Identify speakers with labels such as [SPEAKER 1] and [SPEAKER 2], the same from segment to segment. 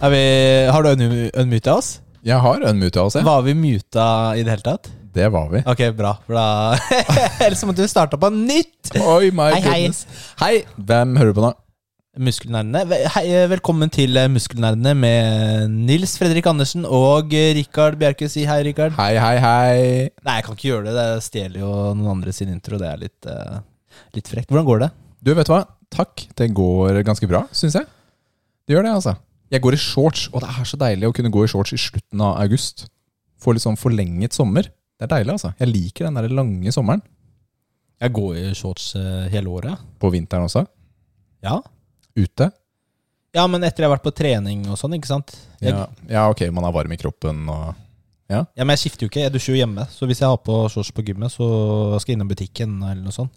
[SPEAKER 1] Er vi, har du unmu- unmuta oss?
[SPEAKER 2] Jeg har unmuta oss, jeg.
[SPEAKER 1] Var vi muta i det hele tatt?
[SPEAKER 2] Det var vi.
[SPEAKER 1] Ok, bra. For da Ellers måtte vi starte på nytt!
[SPEAKER 2] Oi, my
[SPEAKER 1] Hei, hei.
[SPEAKER 2] goodness. Hei, hvem hører på nå?
[SPEAKER 1] Muskelnerdene. Ve- Hei, velkommen til eh, Muskelnerdene med Nils Fredrik Andersen og eh, Rikard Bjerke. Si hei, Rikard.
[SPEAKER 2] Hei, hei, hei.
[SPEAKER 1] Nei, jeg kan ikke gjøre det. Det stjeler jo noen andre sin intro. Det er litt, eh, litt frekt. Hvordan går det?
[SPEAKER 2] Du, vet du hva? Takk. Det går ganske bra, syns jeg. Det gjør det, altså. Jeg går i shorts, og det er så deilig å kunne gå i shorts i slutten av august. Få litt sånn forlenget sommer. Det er deilig, altså. Jeg liker den der lange sommeren.
[SPEAKER 1] Jeg går i shorts eh, hele året.
[SPEAKER 2] På vinteren også.
[SPEAKER 1] Ja.
[SPEAKER 2] Ute.
[SPEAKER 1] ja, men etter jeg har vært på trening og sånn, ikke sant. Jeg, ja.
[SPEAKER 2] Ja, ja ok, man er varm i kroppen og
[SPEAKER 1] Men jeg skifter jo ikke. Jeg dusjer jo hjemme. Så hvis jeg har på shorts på gymmet, så skal jeg innom butikken eller noe sånt.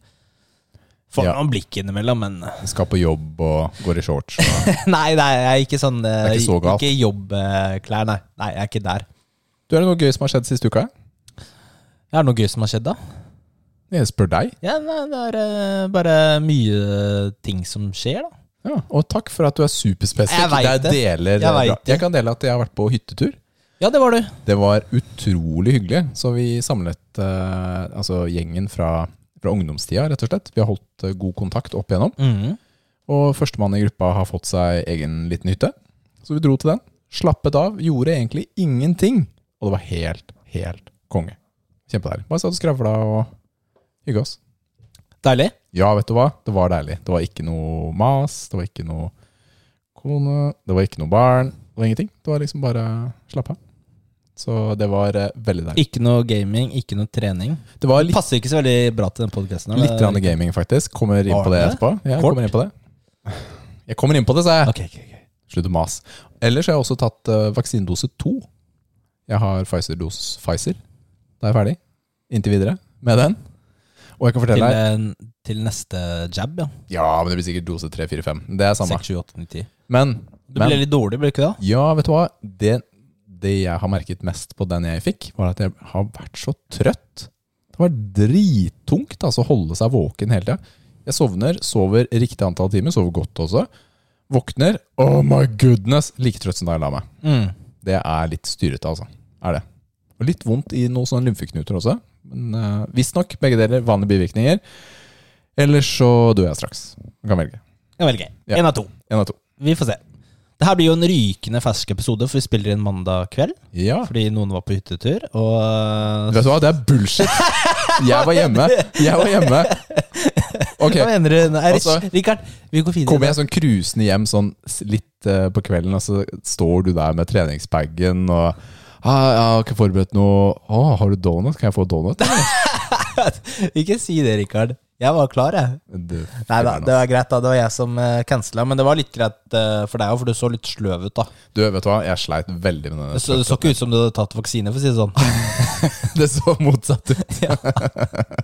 [SPEAKER 1] Får
[SPEAKER 2] Ja.
[SPEAKER 1] noen blikk innimellom, men
[SPEAKER 2] skal på jobb og går i shorts. Og.
[SPEAKER 1] Nei, nei, jeg er ikke sånn eh,
[SPEAKER 2] Det er ikke så galt.
[SPEAKER 1] Ikke jobbklær, nei. Nei, jeg er ikke der.
[SPEAKER 2] Du, er det noe gøy som har skjedd siste uka?
[SPEAKER 1] Er det noe gøy som har skjedd, da?
[SPEAKER 2] Jeg spør deg.
[SPEAKER 1] Ja, nei, Det er eh, bare mye ting som skjer, da.
[SPEAKER 2] Ja, og takk for at du er superspesifikk.
[SPEAKER 1] Jeg vet
[SPEAKER 2] Der deler
[SPEAKER 1] Jeg vet
[SPEAKER 2] bra.
[SPEAKER 1] det.
[SPEAKER 2] jeg kan dele at jeg har vært på hyttetur.
[SPEAKER 1] Ja, det var du.
[SPEAKER 2] Det var utrolig hyggelig. Så vi samlet eh, altså gjengen fra, fra ungdomstida, rett og slett. Vi har holdt eh, god kontakt opp igjennom.
[SPEAKER 1] Mhm.
[SPEAKER 2] Og førstemann i gruppa har fått seg egen liten hytte. Så vi dro til den. Slappet av, gjorde egentlig ingenting. Og det var helt, helt konge. Kjempedeilig. Bare satt og skravla og hygga oss.
[SPEAKER 1] Deilig.
[SPEAKER 2] Ja, vet du hva? Det var deilig. Det var ikke noe mas, det var ikke noe kone, det var ikke noe barn. Det var ingenting. Det var liksom bare slapp av. Så det var eh, veldig deilig.
[SPEAKER 1] Ikke noe gaming, ikke noe trening.
[SPEAKER 2] Det var
[SPEAKER 1] Det
[SPEAKER 2] litt,
[SPEAKER 1] passer ikke så veldig bra til den podkasten.
[SPEAKER 2] litt grann gaming, faktisk. Kommer inn
[SPEAKER 1] Var
[SPEAKER 2] på det
[SPEAKER 1] det?
[SPEAKER 2] etterpå. Ja, jeg
[SPEAKER 1] Kort?
[SPEAKER 2] kommer inn på det. Jeg kommer inn på det, sa jeg.
[SPEAKER 1] Ok, ok, ok.
[SPEAKER 2] Slutt å mase. Ellers har jeg også tatt eh, vaksinedose to. Jeg har Pfizer-dose Pfizer. Da er jeg ferdig. Inntil videre med den. Og jeg kan
[SPEAKER 1] Til,
[SPEAKER 2] fortelle deg
[SPEAKER 1] eh, til neste jab, ja.
[SPEAKER 2] Ja, men det blir sikkert dose tre, fire, fem. Det er samme.
[SPEAKER 1] 6, 7, 8, 9, 10.
[SPEAKER 2] Men,
[SPEAKER 1] Du
[SPEAKER 2] men
[SPEAKER 1] ble litt dårlig, ble du ikke det?
[SPEAKER 2] Ja, vet du hva? Det, det jeg har merket mest på den jeg fikk, var at jeg har vært så trøtt. Det var drittungt altså, å holde seg våken hele tida. Jeg sovner, sover riktig antall timer, sover godt også. Våkner, oh my goodness, like trøtt som da jeg la meg.
[SPEAKER 1] Mm.
[SPEAKER 2] Det er litt styrete, altså. Er det. Og litt vondt i noen sånne lymfeknuter også. Men uh, visstnok begge deler vanlige bivirkninger. Ellers så dør jeg straks. Du kan velge.
[SPEAKER 1] Jeg velger
[SPEAKER 2] Ja.
[SPEAKER 1] én av to.
[SPEAKER 2] Én av to.
[SPEAKER 1] Vi får se. Det her blir jo en rykende fersk episode, for vi spiller inn mandag kveld.
[SPEAKER 2] Ja.
[SPEAKER 1] Fordi noen var på hyttetur, og eh,
[SPEAKER 2] Vet du hva, det er bullshit. Jeg var hjemme. Jeg var hjemme. Ok,
[SPEAKER 1] Hva mener du? Nei, Rich,
[SPEAKER 2] Altså-
[SPEAKER 1] Rikard, vi går videre.
[SPEAKER 2] kommer jeg sånn krusende hjem sånn s- litt eh, på kvelden, og så står du der med treningsbagen og ah, 'Jeg har ikke forberedt noe. Å, har du donut? Kan jeg få donut?'
[SPEAKER 1] Ikke si det, Rikard. Jeg var klar, jeg.
[SPEAKER 2] Du,
[SPEAKER 1] Nei da, det var greit, da. Det var jeg som cancela. Men det var litt greit eh, for deg òg, for du så litt sløv ut, da.
[SPEAKER 2] du, vet du hva, jeg sleit veldig med
[SPEAKER 1] Det
[SPEAKER 2] denne.
[SPEAKER 1] så, det så ikke ut som du hadde tatt vaksine, for å si det sånn.
[SPEAKER 2] Det så motsatt ut.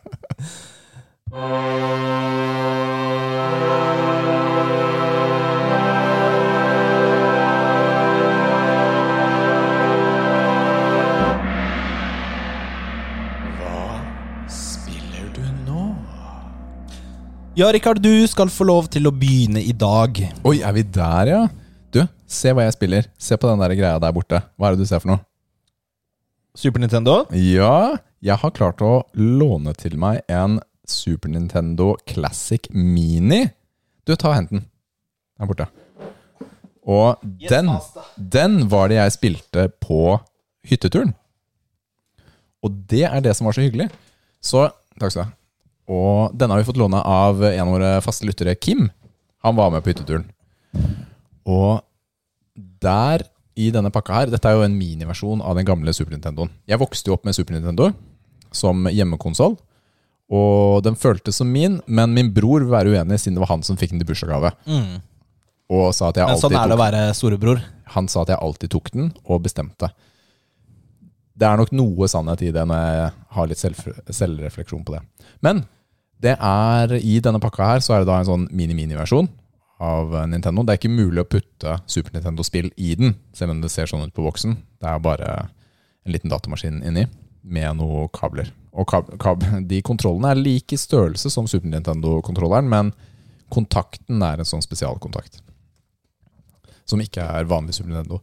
[SPEAKER 3] Spiller du nå?
[SPEAKER 1] Ja, Rikard, du skal få lov til å begynne i dag.
[SPEAKER 2] Oi, er vi der, ja? Du, se hva jeg spiller. Se på den der greia der borte. Hva er det du ser for noe?
[SPEAKER 1] Super Nintendo.
[SPEAKER 2] Ja, jeg har klart å låne til meg en Super Nintendo Classic Mini. Du, ta og hent den. Der borte. Og den, den var det jeg spilte på hytteturen. Og det er det som var så hyggelig. Så Takk skal du ha. Og denne har vi fått låne av en av våre faste lyttere, Kim. Han var med på hytteturen. Og der i denne pakka her Dette er jo en miniversjon av den gamle Super Nintendoen. Jeg vokste jo opp med Super Nintendo som hjemmekonsoll. Og den føltes som min, men min bror vil være uenig siden det var han som fikk den til bursdagsgave. Og sa at
[SPEAKER 1] Mm.
[SPEAKER 2] jeg
[SPEAKER 1] Men
[SPEAKER 2] alltid
[SPEAKER 1] sånn er det
[SPEAKER 2] tok,
[SPEAKER 1] å være storebror.
[SPEAKER 2] han sa at jeg alltid tok den, og bestemte. Det er nok noe sannhet i det når jeg har litt selvf- selvrefleksjon på det. Men det er i denne pakka her så er det da en sånn mini-mini-versjon av eh, Nintendo. Det er ikke mulig å putte Super Nintendo-spill i den, selv om det ser sånn ut på boksen. Det er bare en liten datamaskin inni med noen kabler. Og kab kab de kontrollene er like i størrelse som Super Nintendo-kontrolleren, men kontakten er en sånn spesialkontakt. som ikke er vanlig Super Nintendo.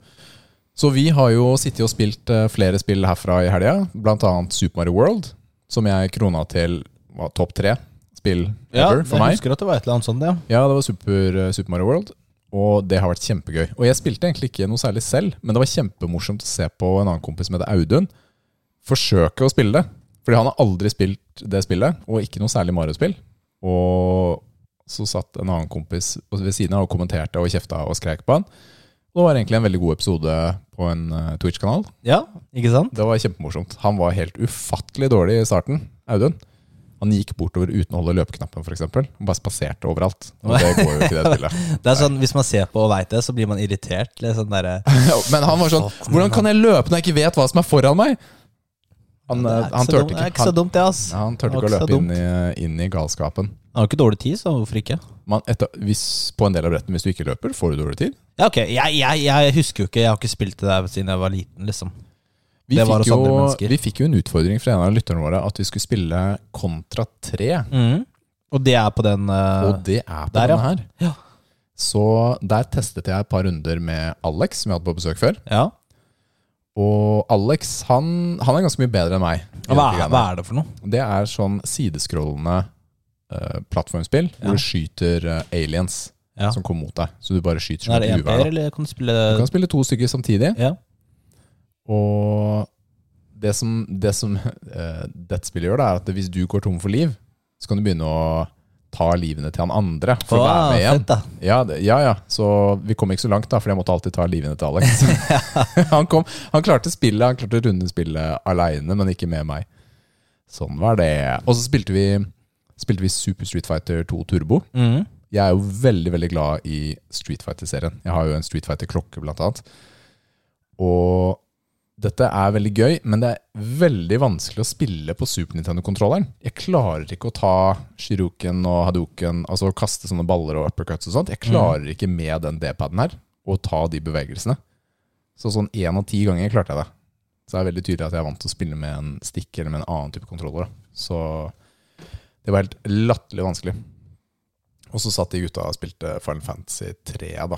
[SPEAKER 2] Så vi har jo sittet og spilt eh, flere spill herfra i helga, blant annet Super Mario World, som jeg krona til hva, topp tre spill
[SPEAKER 1] Ja,
[SPEAKER 2] ever
[SPEAKER 1] jeg
[SPEAKER 2] for meg.
[SPEAKER 1] husker at det var et eller annet sånt, ja.
[SPEAKER 2] Ja, det var Super, eh, Super Mario World, og det har vært kjempegøy. Og jeg spilte egentlig ikke noe særlig selv, men det var kjempemorsomt å se på en annen kompis som heter Audun, forsøke å spille det. Fordi han har aldri spilt det spillet, og ikke noe særlig Mario-spill. Og så satt en annen kompis ved siden av og kommenterte og kjefta og skreik på han. Og det var egentlig en veldig god episode på en eh, Twitch-kanal.
[SPEAKER 1] Ja, ikke sant?
[SPEAKER 2] Det var kjempemorsomt. Han var helt ufattelig dårlig i starten, Audun. Han gikk bortover uten å holde løpeknappen, f.eks. Bare spaserte overalt. Og det går jo ikke i det spillet.
[SPEAKER 1] Det er sånn, Hvis man ser på og veit det, så blir man irritert. Litt sånn derre
[SPEAKER 2] Ja, Men han var sånn Hvordan kan jeg løpe når jeg ikke vet hva som er foran meg? Han,
[SPEAKER 1] Det
[SPEAKER 2] eh,
[SPEAKER 1] er
[SPEAKER 2] han
[SPEAKER 1] så dumt-
[SPEAKER 2] turte
[SPEAKER 1] Det er
[SPEAKER 2] ikke.
[SPEAKER 1] ikke så
[SPEAKER 2] Han,
[SPEAKER 1] dumt, det, ass.
[SPEAKER 2] ja, han turte
[SPEAKER 1] Det
[SPEAKER 2] ikke å
[SPEAKER 1] var ikke
[SPEAKER 2] løpe
[SPEAKER 1] så
[SPEAKER 2] inn i, inn i galskapen.
[SPEAKER 1] Han har ikke dårlig tid, så hvorfor ikke?
[SPEAKER 2] Men etter, hvis, på en del av brettene, hvis du ikke løper, får du dårlig tid.
[SPEAKER 1] Ja, ok, jeg, jeg, jeg husker jo ikke, jeg har ikke spilt det der siden jeg var liten, liksom.
[SPEAKER 2] Vi,
[SPEAKER 1] Det var
[SPEAKER 2] fikk
[SPEAKER 1] hos andre
[SPEAKER 2] jo,
[SPEAKER 1] mennesker.
[SPEAKER 2] vi fikk jo en utfordring fra en av lytterne våre at vi skulle spille kontra tre.
[SPEAKER 1] Mm. Og det er på den eh,
[SPEAKER 2] Og det er på
[SPEAKER 1] Der, ja.
[SPEAKER 2] denne her.
[SPEAKER 1] Ja.
[SPEAKER 2] Så der testet jeg et par runder med Alex, som jeg hadde på besøk før.
[SPEAKER 1] ja.
[SPEAKER 2] Og Alex han, han er ganske mye bedre enn meg. i
[SPEAKER 1] Hva,
[SPEAKER 2] dette
[SPEAKER 1] er-
[SPEAKER 2] greiene.
[SPEAKER 1] hva er det for noe?
[SPEAKER 2] Det er sånn sideskrollende eh, plattformspill
[SPEAKER 1] Ja.
[SPEAKER 2] hvor du skyter eh, aliens
[SPEAKER 1] Ja.
[SPEAKER 2] som kommer mot deg. Så du bare skyter
[SPEAKER 1] Er
[SPEAKER 2] som
[SPEAKER 1] det
[SPEAKER 2] et
[SPEAKER 1] én player,
[SPEAKER 2] uvær. da.
[SPEAKER 1] eller kan du spille
[SPEAKER 2] Du kan spille to stykker samtidig.
[SPEAKER 1] Ja.
[SPEAKER 2] Og det som, det som eh, dette spillet gjør, da, er at hvis du går tom for liv, så kan du begynne å ta livene til han andre for å være
[SPEAKER 1] Åh,
[SPEAKER 2] med igjen.
[SPEAKER 1] fett, da.
[SPEAKER 2] Ja, det, ja, ja. Så vi kom ikke så langt, da, for jeg måtte alltid ta livene til Alex. han, kom, han klarte spillet, han klarte å runde spillet aleine, men ikke med meg. Sånn var det. Og så spilte vi, spilte vi Super Street Fighter 2 Turbo.
[SPEAKER 1] Mhm.
[SPEAKER 2] Jeg er jo veldig veldig glad i Street Fighter-serien. Jeg har jo en Street Fighter-klokke, blant annet. Og dette er veldig gøy, men det er veldig vanskelig å spille på Super Nintendo-kontrolleren. Jeg klarer ikke å ta Shiruken og Hadoken, altså kaste sånne baller og uppercuts og sånt. Jeg klarer ikke med den D-paden her å ta de bevegelsene. Så sånn én av ti ganger klarte jeg det. Så det er veldig tydelig at jeg er vant til å spille med en stikk eller med en annen type kontroller. da. Så det var helt latterlig vanskelig. Og så satt de gutta og spilte Final Fantasy 3 da,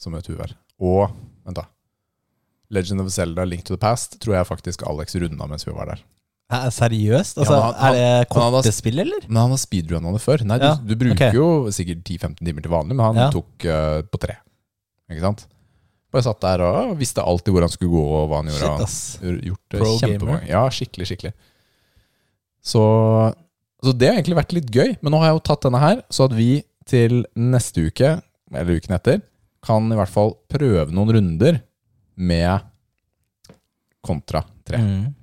[SPEAKER 2] som et uvær. Og vent da Legend of Zelda Link to the Past tror jeg faktisk Alex runda mens vi var der.
[SPEAKER 1] Hæ, Seriøst? Altså,
[SPEAKER 2] Ja, men han-
[SPEAKER 1] er det
[SPEAKER 2] han- han hadde-
[SPEAKER 1] kortespill, eller?
[SPEAKER 2] Men han har speedrunna det før. Nei,
[SPEAKER 1] Ja,
[SPEAKER 2] du, du bruker
[SPEAKER 1] ok.
[SPEAKER 2] jo sikkert 10-15 timer til vanlig, men han
[SPEAKER 1] Ja.
[SPEAKER 2] tok eh, på tre. Ikke sant? Bare satt der og visste alltid hvor han skulle gå og hva han gjorde.
[SPEAKER 1] Shit,
[SPEAKER 2] Han
[SPEAKER 1] ass.
[SPEAKER 2] gjort det
[SPEAKER 1] Pro
[SPEAKER 2] kjempemange. Ja, skikkelig, skikkelig. Så, så det har egentlig vært litt gøy, men nå har jeg jo tatt denne her, så at vi til neste uke, eller uken etter, kan i hvert fall prøve noen runder med kontra tre.
[SPEAKER 1] Mhm.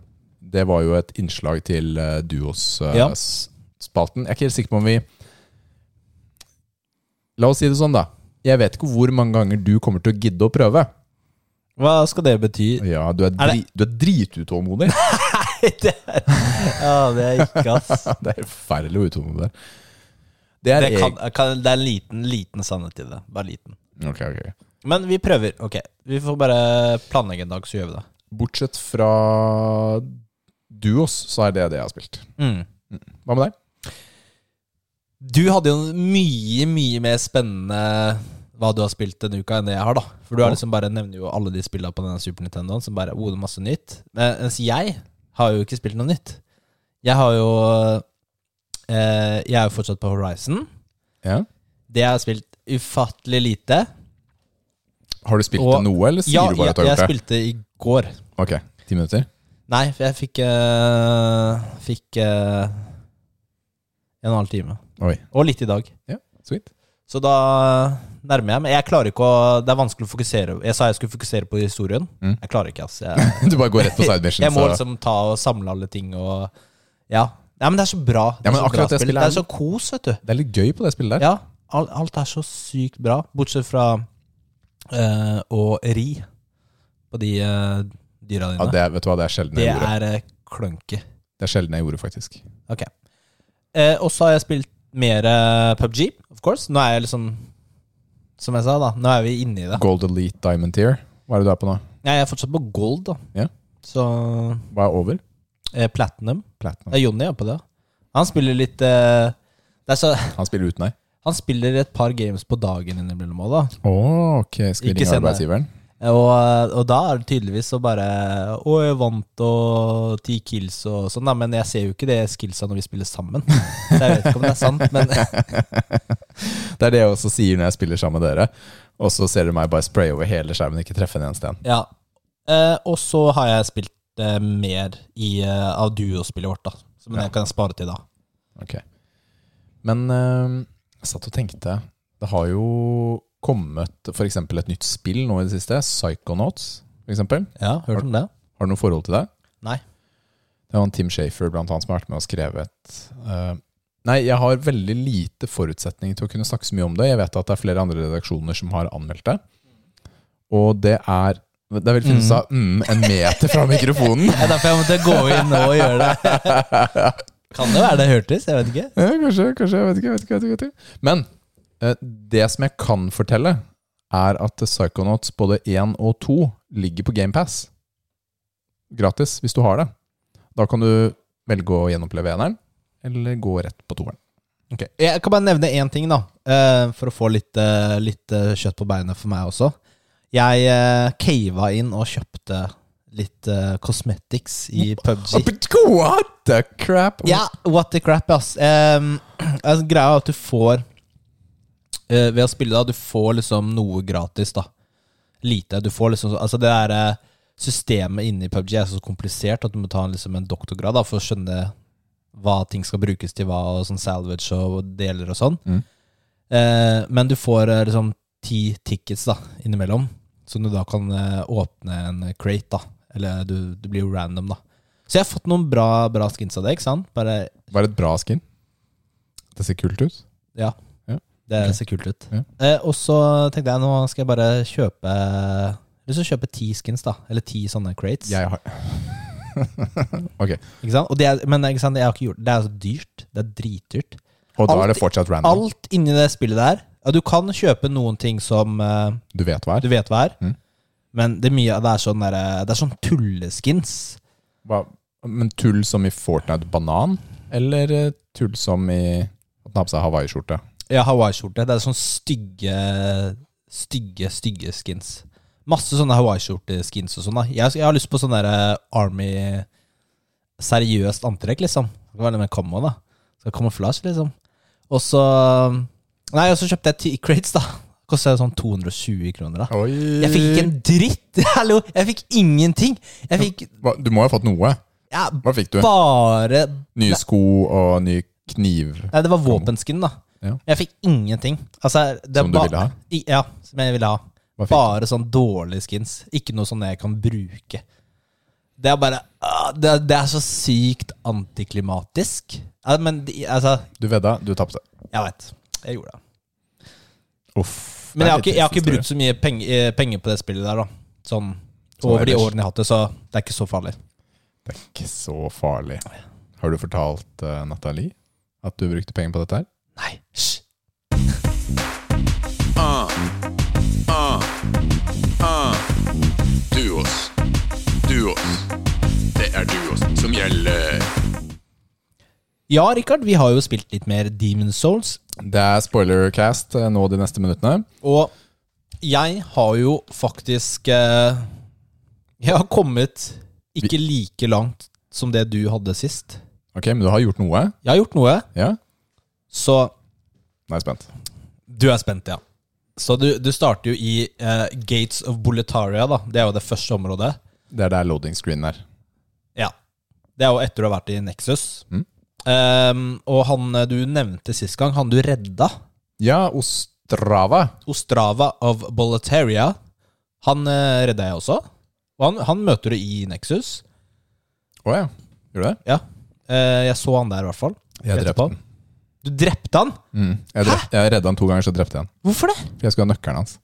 [SPEAKER 2] Det var jo et innslag til eh,
[SPEAKER 1] Ja.
[SPEAKER 2] Duos-spalten. Jeg er ikke helt sikker på om vi La oss si det sånn, da. Jeg vet ikke hvor mange ganger du kommer til å gidde å prøve.
[SPEAKER 1] Hva skal det bety?
[SPEAKER 2] Ja, Du er,
[SPEAKER 1] Er
[SPEAKER 2] dri,
[SPEAKER 1] det-
[SPEAKER 2] du er dritutålmodig.
[SPEAKER 1] det ja, det er ikke, ass.
[SPEAKER 2] Det er forferdelig å utålmodig. Det er
[SPEAKER 1] Det, kan,
[SPEAKER 2] eg-
[SPEAKER 1] kan, det er en liten, liten sannhet i det. Bare liten.
[SPEAKER 2] Ok, ok.
[SPEAKER 1] Men vi prøver. Ok, vi får bare planlegge en dag, så gjør vi det.
[SPEAKER 2] Bortsett fra duos, så er det det jeg har spilt. Hva med deg?
[SPEAKER 1] Mm. Du hadde jo en mye, mye mer spennende hva du har spilt denne uka, enn det jeg har, da. For du har liksom bare nevner jo alle de spillene på denne Super Nintendoen som bare oh, det er masse nytt. Men- Mens jeg har jo ikke spilt noe nytt. Jeg har jo eh, Jeg er jo fortsatt på Horizon.
[SPEAKER 2] Ja.
[SPEAKER 1] Det jeg har spilt ufattelig lite.
[SPEAKER 2] Har du spilt
[SPEAKER 1] Og-
[SPEAKER 2] noe, eller sier
[SPEAKER 1] Ja,
[SPEAKER 2] du bare
[SPEAKER 1] jeg,
[SPEAKER 2] at du har
[SPEAKER 1] jeg
[SPEAKER 2] gjort det?
[SPEAKER 1] spilte i går.
[SPEAKER 2] Ok, ti minutter.
[SPEAKER 1] Nei, for jeg fikk eh, Fikk eh, en og en halv time.
[SPEAKER 2] Oi,
[SPEAKER 1] Og litt i dag.
[SPEAKER 2] sweet.
[SPEAKER 1] Så da nærmer jeg meg. Jeg klarer ikke å Det er vanskelig å fokusere. Jeg sa jeg skulle fokusere på historien.
[SPEAKER 2] Mm.
[SPEAKER 1] Jeg klarer ikke, ass. Jeg,
[SPEAKER 2] Du bare går rett på side mission.
[SPEAKER 1] jeg må
[SPEAKER 2] så-
[SPEAKER 1] liksom ta og samle alle ting og Ja. Nei, men det er så bra. Det
[SPEAKER 2] Ja,
[SPEAKER 1] er,
[SPEAKER 2] men
[SPEAKER 1] så, bra
[SPEAKER 2] akkurat det
[SPEAKER 1] spill.
[SPEAKER 2] spillet
[SPEAKER 1] det
[SPEAKER 2] er
[SPEAKER 1] er så kos, vet du.
[SPEAKER 2] Det er litt gøy på det spillet der.
[SPEAKER 1] Ja. Alt, alt er så sykt bra. Bortsett fra eh, å ri på de eh, dyra
[SPEAKER 2] Ja,
[SPEAKER 1] dine.
[SPEAKER 2] det, er- vet du hva, det er sjelden
[SPEAKER 1] det
[SPEAKER 2] jeg gjorde.
[SPEAKER 1] er uh, klønky.
[SPEAKER 2] Det er sjelden jeg gjorde, faktisk.
[SPEAKER 1] Ok. Eh, og så har jeg spilt mer eh, PubG, of course. Nå er jeg liksom Som jeg sa, da. Nå er vi inne i det.
[SPEAKER 2] Gold Elite Diamond Tier. Hva er det du er på nå?
[SPEAKER 1] Nei, jeg er fortsatt på gold, da.
[SPEAKER 2] Ja.
[SPEAKER 1] Så
[SPEAKER 2] Hva er over?
[SPEAKER 1] eh, platinum.
[SPEAKER 2] Platinum.
[SPEAKER 1] Ja, Jonny er på det. Han spiller litt eh, det er så,
[SPEAKER 2] Han spiller uten deg.
[SPEAKER 1] Han spiller et par games på dagen innimellom òg, da.
[SPEAKER 2] Å, ok. Skal vi
[SPEAKER 1] Ikke
[SPEAKER 2] ringe
[SPEAKER 1] send det.
[SPEAKER 2] arbeidsgiveren?
[SPEAKER 1] Og, eh, og da er det tydeligvis så bare Å, jeg vant og ti kills og sånn, da. Men jeg ser jo ikke det skillsa når vi spiller sammen. Så jeg vet ikke om det er sant, men
[SPEAKER 2] Det er det jeg også sier når jeg spiller sammen med dere. Og så ser dere meg bare spraye over hele skjermen og ikke treffe en eneste en.
[SPEAKER 1] ja. Eh, og så har jeg spilt eh, mer i, eh, av duospillet vårt, da. Så, men det kan jeg spare til da.
[SPEAKER 2] Ok. Men eh, jeg satt og tenkte Det har jo kommet f.eks. et nytt spill nå i det siste. Psychonauts, f.eks. Har
[SPEAKER 1] Ja, hørt om det?
[SPEAKER 2] du noe forhold til det?
[SPEAKER 1] Nei.
[SPEAKER 2] Det er jo han Tim Shafer blant annet som har vært med og skrevet eh, Nei, jeg har veldig lite forutsetning til å kunne snakke så mye om det. Jeg vet at det er flere andre redaksjoner som har anmeldt det. Og det er Det er vel funnet seg mm, en meter fra mikrofonen.
[SPEAKER 1] Det er derfor jeg måtte gå inn nå og gjøre det. Kan det være det hørtes? Jeg vet ikke.
[SPEAKER 2] Ja, kanskje, kanskje, jeg vet ikke. Jeg vet ikke, jeg vet ikke, jeg vet ikke. Men eh, det som jeg kan fortelle, er at Psychonauts både 1 og 2 ligger på GamePass. Gratis, hvis du har det. Da kan du velge å gjenoppleve eneren, eller gå rett på toeren.
[SPEAKER 1] Ok. Jeg kan bare nevne én ting, da. eh, For å få litt, eh, litt eh, kjøtt på beinet for meg også. Jeg eh, cava inn og kjøpte litt eh, cosmetics i PubG.
[SPEAKER 2] What the crap?
[SPEAKER 1] Ja, what the crap, ass. Um, altså, greia er at du får eh, Ved å spille, da, du får liksom noe gratis, da. Lite. Du får liksom Altså, det der eh, systemet inne i PubG er så komplisert at du må ta en, liksom en doktorgrad da, for å skjønne hva ting skal brukes til, hva og sånn salvage og deler og sånn.
[SPEAKER 2] Mm.
[SPEAKER 1] Eh, men du får eh, liksom ti tickets da, innimellom, som du da kan eh, åpne en crate, da. Eller du, du blir jo random, da. Så jeg har fått noen bra, bra skins av det, ikke sant? Bare,
[SPEAKER 2] Var det et bra skin? Det ser kult ut.
[SPEAKER 1] ja.
[SPEAKER 2] Ja,
[SPEAKER 1] Det
[SPEAKER 2] ok.
[SPEAKER 1] ser kult ut.
[SPEAKER 2] Ja.
[SPEAKER 1] Eh, og så tenkte jeg, nå skal jeg bare kjøpe Jeg har lyst til å kjøpe ti skins, da. Eller ti sånne crates.
[SPEAKER 2] Jeg har Ok.
[SPEAKER 1] Ikke sant? Og det er, men ikke sant? Jeg har ikke gjort, det er så dyrt. Det er dritdyrt.
[SPEAKER 2] Og da er det
[SPEAKER 1] Alt-
[SPEAKER 2] fortsatt random.
[SPEAKER 1] Alt inni det spillet der ja, Du kan kjøpe noen ting som eh,
[SPEAKER 2] Du vet hva
[SPEAKER 1] du
[SPEAKER 2] er.
[SPEAKER 1] vet hva er,
[SPEAKER 2] Mm.
[SPEAKER 1] men det er mye av det er sånn, derre- det er sånn tulleskins.
[SPEAKER 2] Hva- Men tull som i Fortnite banan, eller eh, tull som i at den har på seg hawaiiskjorte?
[SPEAKER 1] Ja, hawaiiskjorte. Det er sånn stygge, stygge, stygge skins. Masse sånne hawaiiskjorte-skins og sånn. da jeg, jeg har lyst på sånn derre Army Seriøst antrekk, liksom. Det kan være litt mer combo, da. Skal Kamuflasje, liksom. Og så mm, Nei, og så kjøpte jeg ti crates, da. Koster sånn 220 kroner, da. Jeg fikk ikke en dritt! Hallo! Jeg fikk ingenting! Jeg fikk
[SPEAKER 2] Hva- Du må jo ha fått noe.
[SPEAKER 1] ja,
[SPEAKER 2] Hva fikk du?
[SPEAKER 1] bare
[SPEAKER 2] Nye sko og ny kniv.
[SPEAKER 1] Nei, det var våpenskin, da.
[SPEAKER 2] Ja.
[SPEAKER 1] Jeg fikk ingenting. Altså, det er
[SPEAKER 2] Som du
[SPEAKER 1] ba-
[SPEAKER 2] ville ha?
[SPEAKER 1] I, ja, som jeg ville ha.
[SPEAKER 2] Hva fikk
[SPEAKER 1] Bare sånn dårlige skins. Ikke noe sånn jeg kan bruke. Det er bare ah, Det, er- det er så sykt antiklimatisk. Ja, men de- altså
[SPEAKER 2] Du vedda, du tapte.
[SPEAKER 1] Jeg veit. Jeg gjorde det.
[SPEAKER 2] Uff.
[SPEAKER 1] Men
[SPEAKER 2] det
[SPEAKER 1] jeg
[SPEAKER 2] er
[SPEAKER 1] har
[SPEAKER 2] litt
[SPEAKER 1] ikke, jeg har
[SPEAKER 2] trist
[SPEAKER 1] ikke
[SPEAKER 2] historie.
[SPEAKER 1] brukt så mye penger, eh, penger på det spillet der, da. Sånn
[SPEAKER 2] Som
[SPEAKER 1] over de
[SPEAKER 2] ellers.
[SPEAKER 1] årene jeg har hatt det, så det er ikke så farlig.
[SPEAKER 2] Det er ikke så farlig. Har du fortalt eh, Nathalie at du brukte penger på dette her?
[SPEAKER 1] Nei. Hysj.
[SPEAKER 3] Duos. Duos. Det er duos som gjelder.
[SPEAKER 1] Ja, Rikard, vi har jo spilt litt mer Demon Souls.
[SPEAKER 2] Det er spoilercast eh, nå de neste minuttene.
[SPEAKER 1] Og jeg har jo faktisk eh, Jeg har kommet ikke like langt som det du hadde sist.
[SPEAKER 2] Ok, men du har gjort noe?
[SPEAKER 1] Jeg har gjort noe,
[SPEAKER 2] Ja?
[SPEAKER 1] så
[SPEAKER 2] Nå er jeg spent.
[SPEAKER 1] Du er spent, ja. Så du, du starter jo i eh, Gates of Boletaria, da. Det er jo det første området.
[SPEAKER 2] Det er der loading screen er.
[SPEAKER 1] Ja. Det er jo etter du har vært i Nexus. Ehm, og han eh, du nevnte sist gang, han du redda,
[SPEAKER 2] Ja, Ostrava.
[SPEAKER 1] Ostrava of Boletaria, han eh, redda jeg også. Og han, han møter du i Nexus.
[SPEAKER 2] Å ja. Gjorde du det?
[SPEAKER 1] Ja. Eh, jeg så han der, i hvert fall.
[SPEAKER 2] Jeg drepte
[SPEAKER 1] Etterpå.
[SPEAKER 2] han.
[SPEAKER 1] Du drepte han?
[SPEAKER 2] Mm. Jeg, drep, jeg redda han to ganger, så drepte jeg han.
[SPEAKER 1] Hvorfor det?
[SPEAKER 2] For jeg skulle ha nøkkelen hans.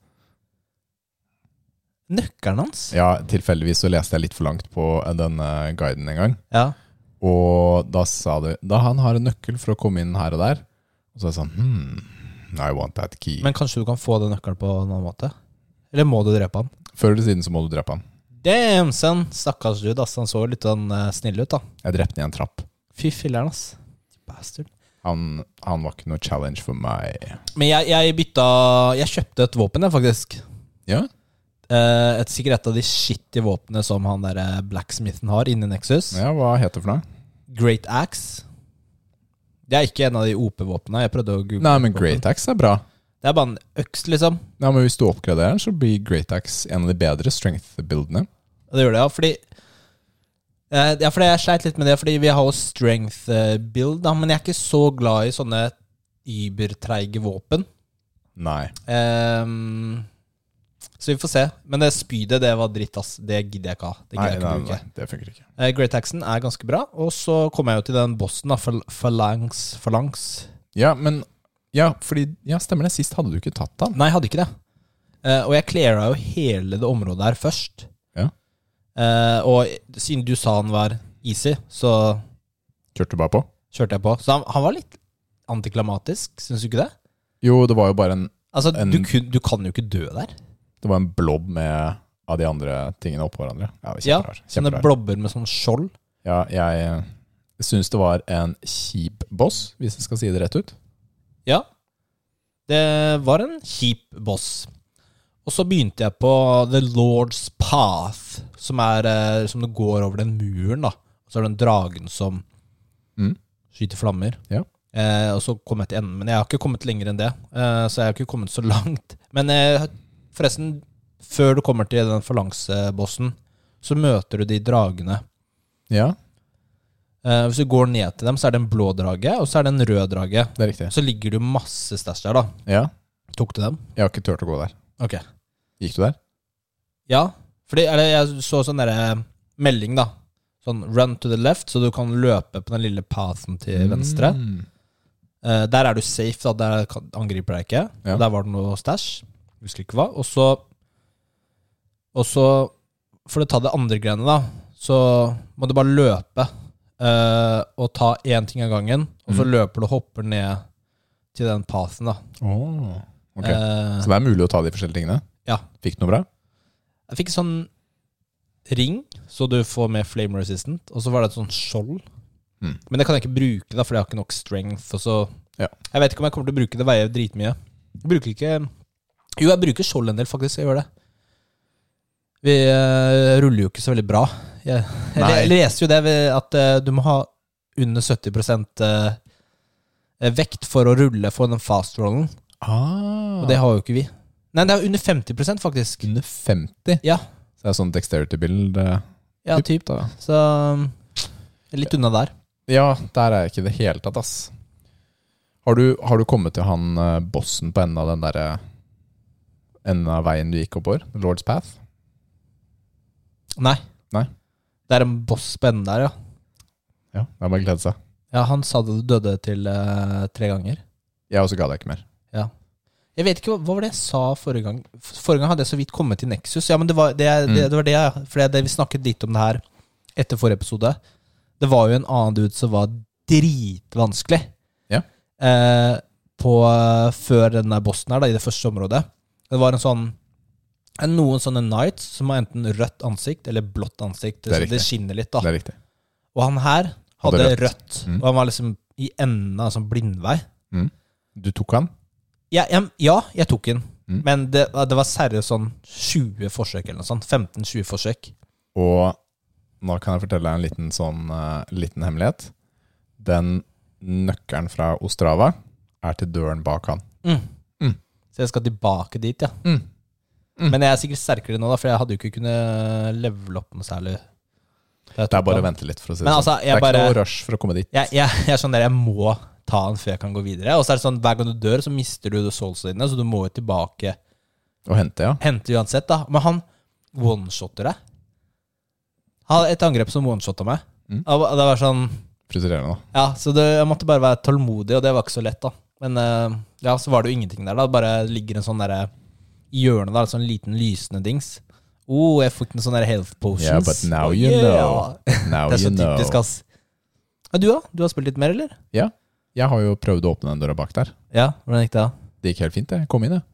[SPEAKER 1] Nøkkelen hans?
[SPEAKER 2] Ja, Tilfeldigvis så leste jeg litt for langt på eh, denne guiden en gang.
[SPEAKER 1] Ja.
[SPEAKER 2] Og da sa du Da han har en nøkkel for å komme inn her og der. Og så er jeg sånn hmm, I want that key.
[SPEAKER 1] Men kanskje du kan få den nøkkelen på en annen måte? Eller må du drepe han?
[SPEAKER 2] Før eller siden så må du drepe han.
[SPEAKER 1] Damn, son! Stakkars dude, ass. Han så litt sånn eh, snill ut, da.
[SPEAKER 2] Jeg drepte han i en trapp.
[SPEAKER 1] Fy filleren, ass. Bastard.
[SPEAKER 2] Han, han var ikke noe challenge for meg.
[SPEAKER 1] Men jeg, jeg bytta Jeg kjøpte et våpen, jeg, faktisk.
[SPEAKER 2] Ja?
[SPEAKER 1] Eh, et sikkert et av de shitty våpnene som han derre blacksmithen har inni Nexus.
[SPEAKER 2] ja, hva heter det for noe?
[SPEAKER 1] Great Axe. Det er ikke en av de OP-våpnene. Jeg prøvde å google
[SPEAKER 2] Nei, men Great Axe er bra.
[SPEAKER 1] Det er bare en øks, liksom.
[SPEAKER 2] Ja, men Hvis du oppgraderer den, så blir Great Axe en av de bedre strength-bildene.
[SPEAKER 1] Og det gjør det, ja. Fordi eh, Ja, fordi jeg sleit litt med det, fordi vi har jo strength eh, build, da, men jeg er ikke så glad i sånne übertreige våpen.
[SPEAKER 2] Nei.
[SPEAKER 1] Ehm, så vi får se. Men det spydet, det var dritt, ass. Det gidder jeg ikke ha. Det
[SPEAKER 2] Nei,
[SPEAKER 1] gidder jeg
[SPEAKER 2] nei,
[SPEAKER 1] ikke
[SPEAKER 2] nei,
[SPEAKER 1] bruke.
[SPEAKER 2] det funker ikke.
[SPEAKER 1] Eh, Great Axon er ganske bra. Og så kom jeg jo til den bossen, da. Fal- Phalanx. Phalanx.
[SPEAKER 2] Ja, men Ja, fordi Ja, stemmer det. Sist hadde du ikke tatt han.
[SPEAKER 1] Nei, jeg hadde ikke det. Eh, og jeg cleara jo hele det området her først.
[SPEAKER 2] Ja.
[SPEAKER 1] Eh, og siden du sa han var easy, så
[SPEAKER 2] Kjørte du bare på?
[SPEAKER 1] kjørte jeg på. Så han, han var litt antiklamatisk, syns du ikke det?
[SPEAKER 2] Jo, det var jo bare en
[SPEAKER 1] Altså,
[SPEAKER 2] En-
[SPEAKER 1] du, kun, du kan jo ikke dø der.
[SPEAKER 2] Det var en blob med av de andre tingene oppå hverandre. Ja, det var
[SPEAKER 1] Ja,
[SPEAKER 2] kjemperar.
[SPEAKER 1] Sånne
[SPEAKER 2] kjemperar.
[SPEAKER 1] blobber med sånn skjold.
[SPEAKER 2] Ja, jeg syns det var en kjip boss, hvis jeg skal si det rett ut.
[SPEAKER 1] Ja. Det var en kjip boss. Og så begynte jeg på The Lord's Path, som er eh, som det går over den muren, da. Og så er det den dragen som
[SPEAKER 2] Mm.
[SPEAKER 1] skyter flammer.
[SPEAKER 2] Ja.
[SPEAKER 1] Eh, og så kom jeg til enden, men jeg har ikke kommet lenger enn det. Eh, så jeg har ikke kommet så langt. Men eh, forresten, før du kommer til den forlangsebossen, så møter du de dragene.
[SPEAKER 2] Ja,
[SPEAKER 1] Eh, hvis du går ned til dem, så er det en blå drage, og så er det en rød drage.
[SPEAKER 2] det er riktig.
[SPEAKER 1] Så ligger det jo masse stæsj der, da.
[SPEAKER 2] Ja,
[SPEAKER 1] Tok du dem?
[SPEAKER 2] Jeg har ikke turt å gå der.
[SPEAKER 1] Ok.
[SPEAKER 2] Gikk du der?
[SPEAKER 1] Ja, fordi eller, jeg så sånn derre melding, da. Sånn run to the left, så du kan løpe på den lille pathen til venstre.
[SPEAKER 2] Mm.
[SPEAKER 1] Eh, der er du safe, da. Der kan- angriper deg ikke.
[SPEAKER 2] Ja.
[SPEAKER 1] Der var det noe stæsj. Husker ikke hva. Og så Og så, for å ta det andre greiene, da, så må du bare løpe. eh, og ta én ting av gangen, og så løper du og hopper ned til den pathen, da.
[SPEAKER 2] Åh, ok.
[SPEAKER 1] Eh,
[SPEAKER 2] Så det er mulig å ta de forskjellige tingene?
[SPEAKER 1] ja.
[SPEAKER 2] Fikk du noe bra?
[SPEAKER 1] Jeg fikk en sånn ring, så du får med flame resistant, og så var det et sånt skjold.
[SPEAKER 2] Mm.
[SPEAKER 1] Men det kan jeg ikke bruke, da, for jeg har ikke nok strength. Og så
[SPEAKER 2] Ja.
[SPEAKER 1] Jeg vet ikke om jeg kommer til å bruke det, veier jo dritmye. Jeg bruker ikke Jo, jeg bruker skjold en del, faktisk. Jeg gjør det. Vi eh, ruller jo ikke så veldig bra. Jeg, jeg,
[SPEAKER 2] Nei.
[SPEAKER 1] le- leser jo det ved at eh, du må ha under 70 eh, vekt for å rulle for den fast-rollen,
[SPEAKER 2] Ah,
[SPEAKER 1] og det har jo ikke vi. Nei, det er under 50 faktisk.
[SPEAKER 2] under 50.
[SPEAKER 1] Ja,
[SPEAKER 2] Så det er sånn dexterity build. eh,
[SPEAKER 1] ja
[SPEAKER 2] typ,
[SPEAKER 1] typ.
[SPEAKER 2] da.
[SPEAKER 1] Så um, litt unna der.
[SPEAKER 2] Ja, der er jeg ikke i det hele tatt, ass. Har du, har du kommet til han eh, bossen på enden av den derre Enden av veien du gikk oppover? Lord's Path?
[SPEAKER 1] Nei.
[SPEAKER 2] Nei.
[SPEAKER 1] Det er en boss på enden der, ja.
[SPEAKER 2] Ja, det er bare å glede seg.
[SPEAKER 1] Ja, Han sa det du døde til eh, tre ganger.
[SPEAKER 2] Jeg også ga deg ikke mer.
[SPEAKER 1] Ja. Jeg vet ikke, hva, hva var det jeg sa forrige gang? F- Forrige gang hadde jeg så vidt kommet til Nexus. Ja, men det var det, jeg- det, det, var det, jeg- for det, det vi snakket litt om det her etter forrige episode. Det var jo en annen dude som var dritvanskelig.
[SPEAKER 2] Ja.
[SPEAKER 1] Eh, på, eh, før den der bossen her, da, i det første området. Det var en sånn en- noen sånne knights som har enten rødt ansikt eller blått ansikt.
[SPEAKER 2] Det
[SPEAKER 1] så
[SPEAKER 2] er
[SPEAKER 1] det
[SPEAKER 2] riktig.
[SPEAKER 1] skinner litt, da.
[SPEAKER 2] Det er riktig.
[SPEAKER 1] Og han her hadde,
[SPEAKER 2] Hadde
[SPEAKER 1] rødt.
[SPEAKER 2] rødt. Mm.
[SPEAKER 1] Og han var liksom i enden av en sånn blindvei.
[SPEAKER 2] Du tok han?
[SPEAKER 1] Ja, jeg, ja, jeg tok den.
[SPEAKER 2] Mm.
[SPEAKER 1] Men det, det var seriøst sånn 20 forsøk eller noe sånt. 15-20 forsøk.
[SPEAKER 2] Og nå kan jeg fortelle deg en liten, sånn, eh, liten hemmelighet. Den nøkkelen fra Ostrava er til døren bak han.
[SPEAKER 1] Mm. Så jeg skal tilbake dit, ja.
[SPEAKER 2] Mm.
[SPEAKER 1] Men jeg er sikkert sterkere nå, da, for jeg hadde jo ikke kunnet levele opp noe særlig.
[SPEAKER 2] Det er bare å vente litt, for å si det
[SPEAKER 1] Men
[SPEAKER 2] sånn.
[SPEAKER 1] altså,
[SPEAKER 2] det
[SPEAKER 1] jeg
[SPEAKER 2] er
[SPEAKER 1] bare-
[SPEAKER 2] ikke noe rush for å komme dit.
[SPEAKER 1] Jeg, jeg, jeg er sånn der, jeg må ta den før jeg kan gå videre. Og så er det sånn, hver gang du dør, så mister du soulsene dine, så du må jo tilbake.
[SPEAKER 2] Å hente, ja.
[SPEAKER 1] Hente uansett, da. Men han oneshotter deg. Han hadde et angrep som oneshotta meg.
[SPEAKER 2] Mm.
[SPEAKER 1] Og Det var sånn
[SPEAKER 2] Frustrerende, da.
[SPEAKER 1] Ja, så det, jeg måtte bare være tålmodig, og det var ikke så lett, da. Men eh, ja, så var det jo ingenting der, da. Det bare ligger en sånn derre I hjørnet der, en sånn liten lysende dings. Oh, jeg fikk en sånn der health potions.
[SPEAKER 2] Yeah, but
[SPEAKER 1] Oh,
[SPEAKER 2] now you
[SPEAKER 1] yeah.
[SPEAKER 2] know. Now
[SPEAKER 1] Det er så
[SPEAKER 2] you know.
[SPEAKER 1] typisk, ass. Ja, du, da? Du har spilt litt mer, eller?
[SPEAKER 2] Ja. Jeg har jo prøvd å åpne den døra bak der.
[SPEAKER 1] Ja, hvordan gikk det? da?
[SPEAKER 2] Det gikk helt fint, det. Kom inn, jeg.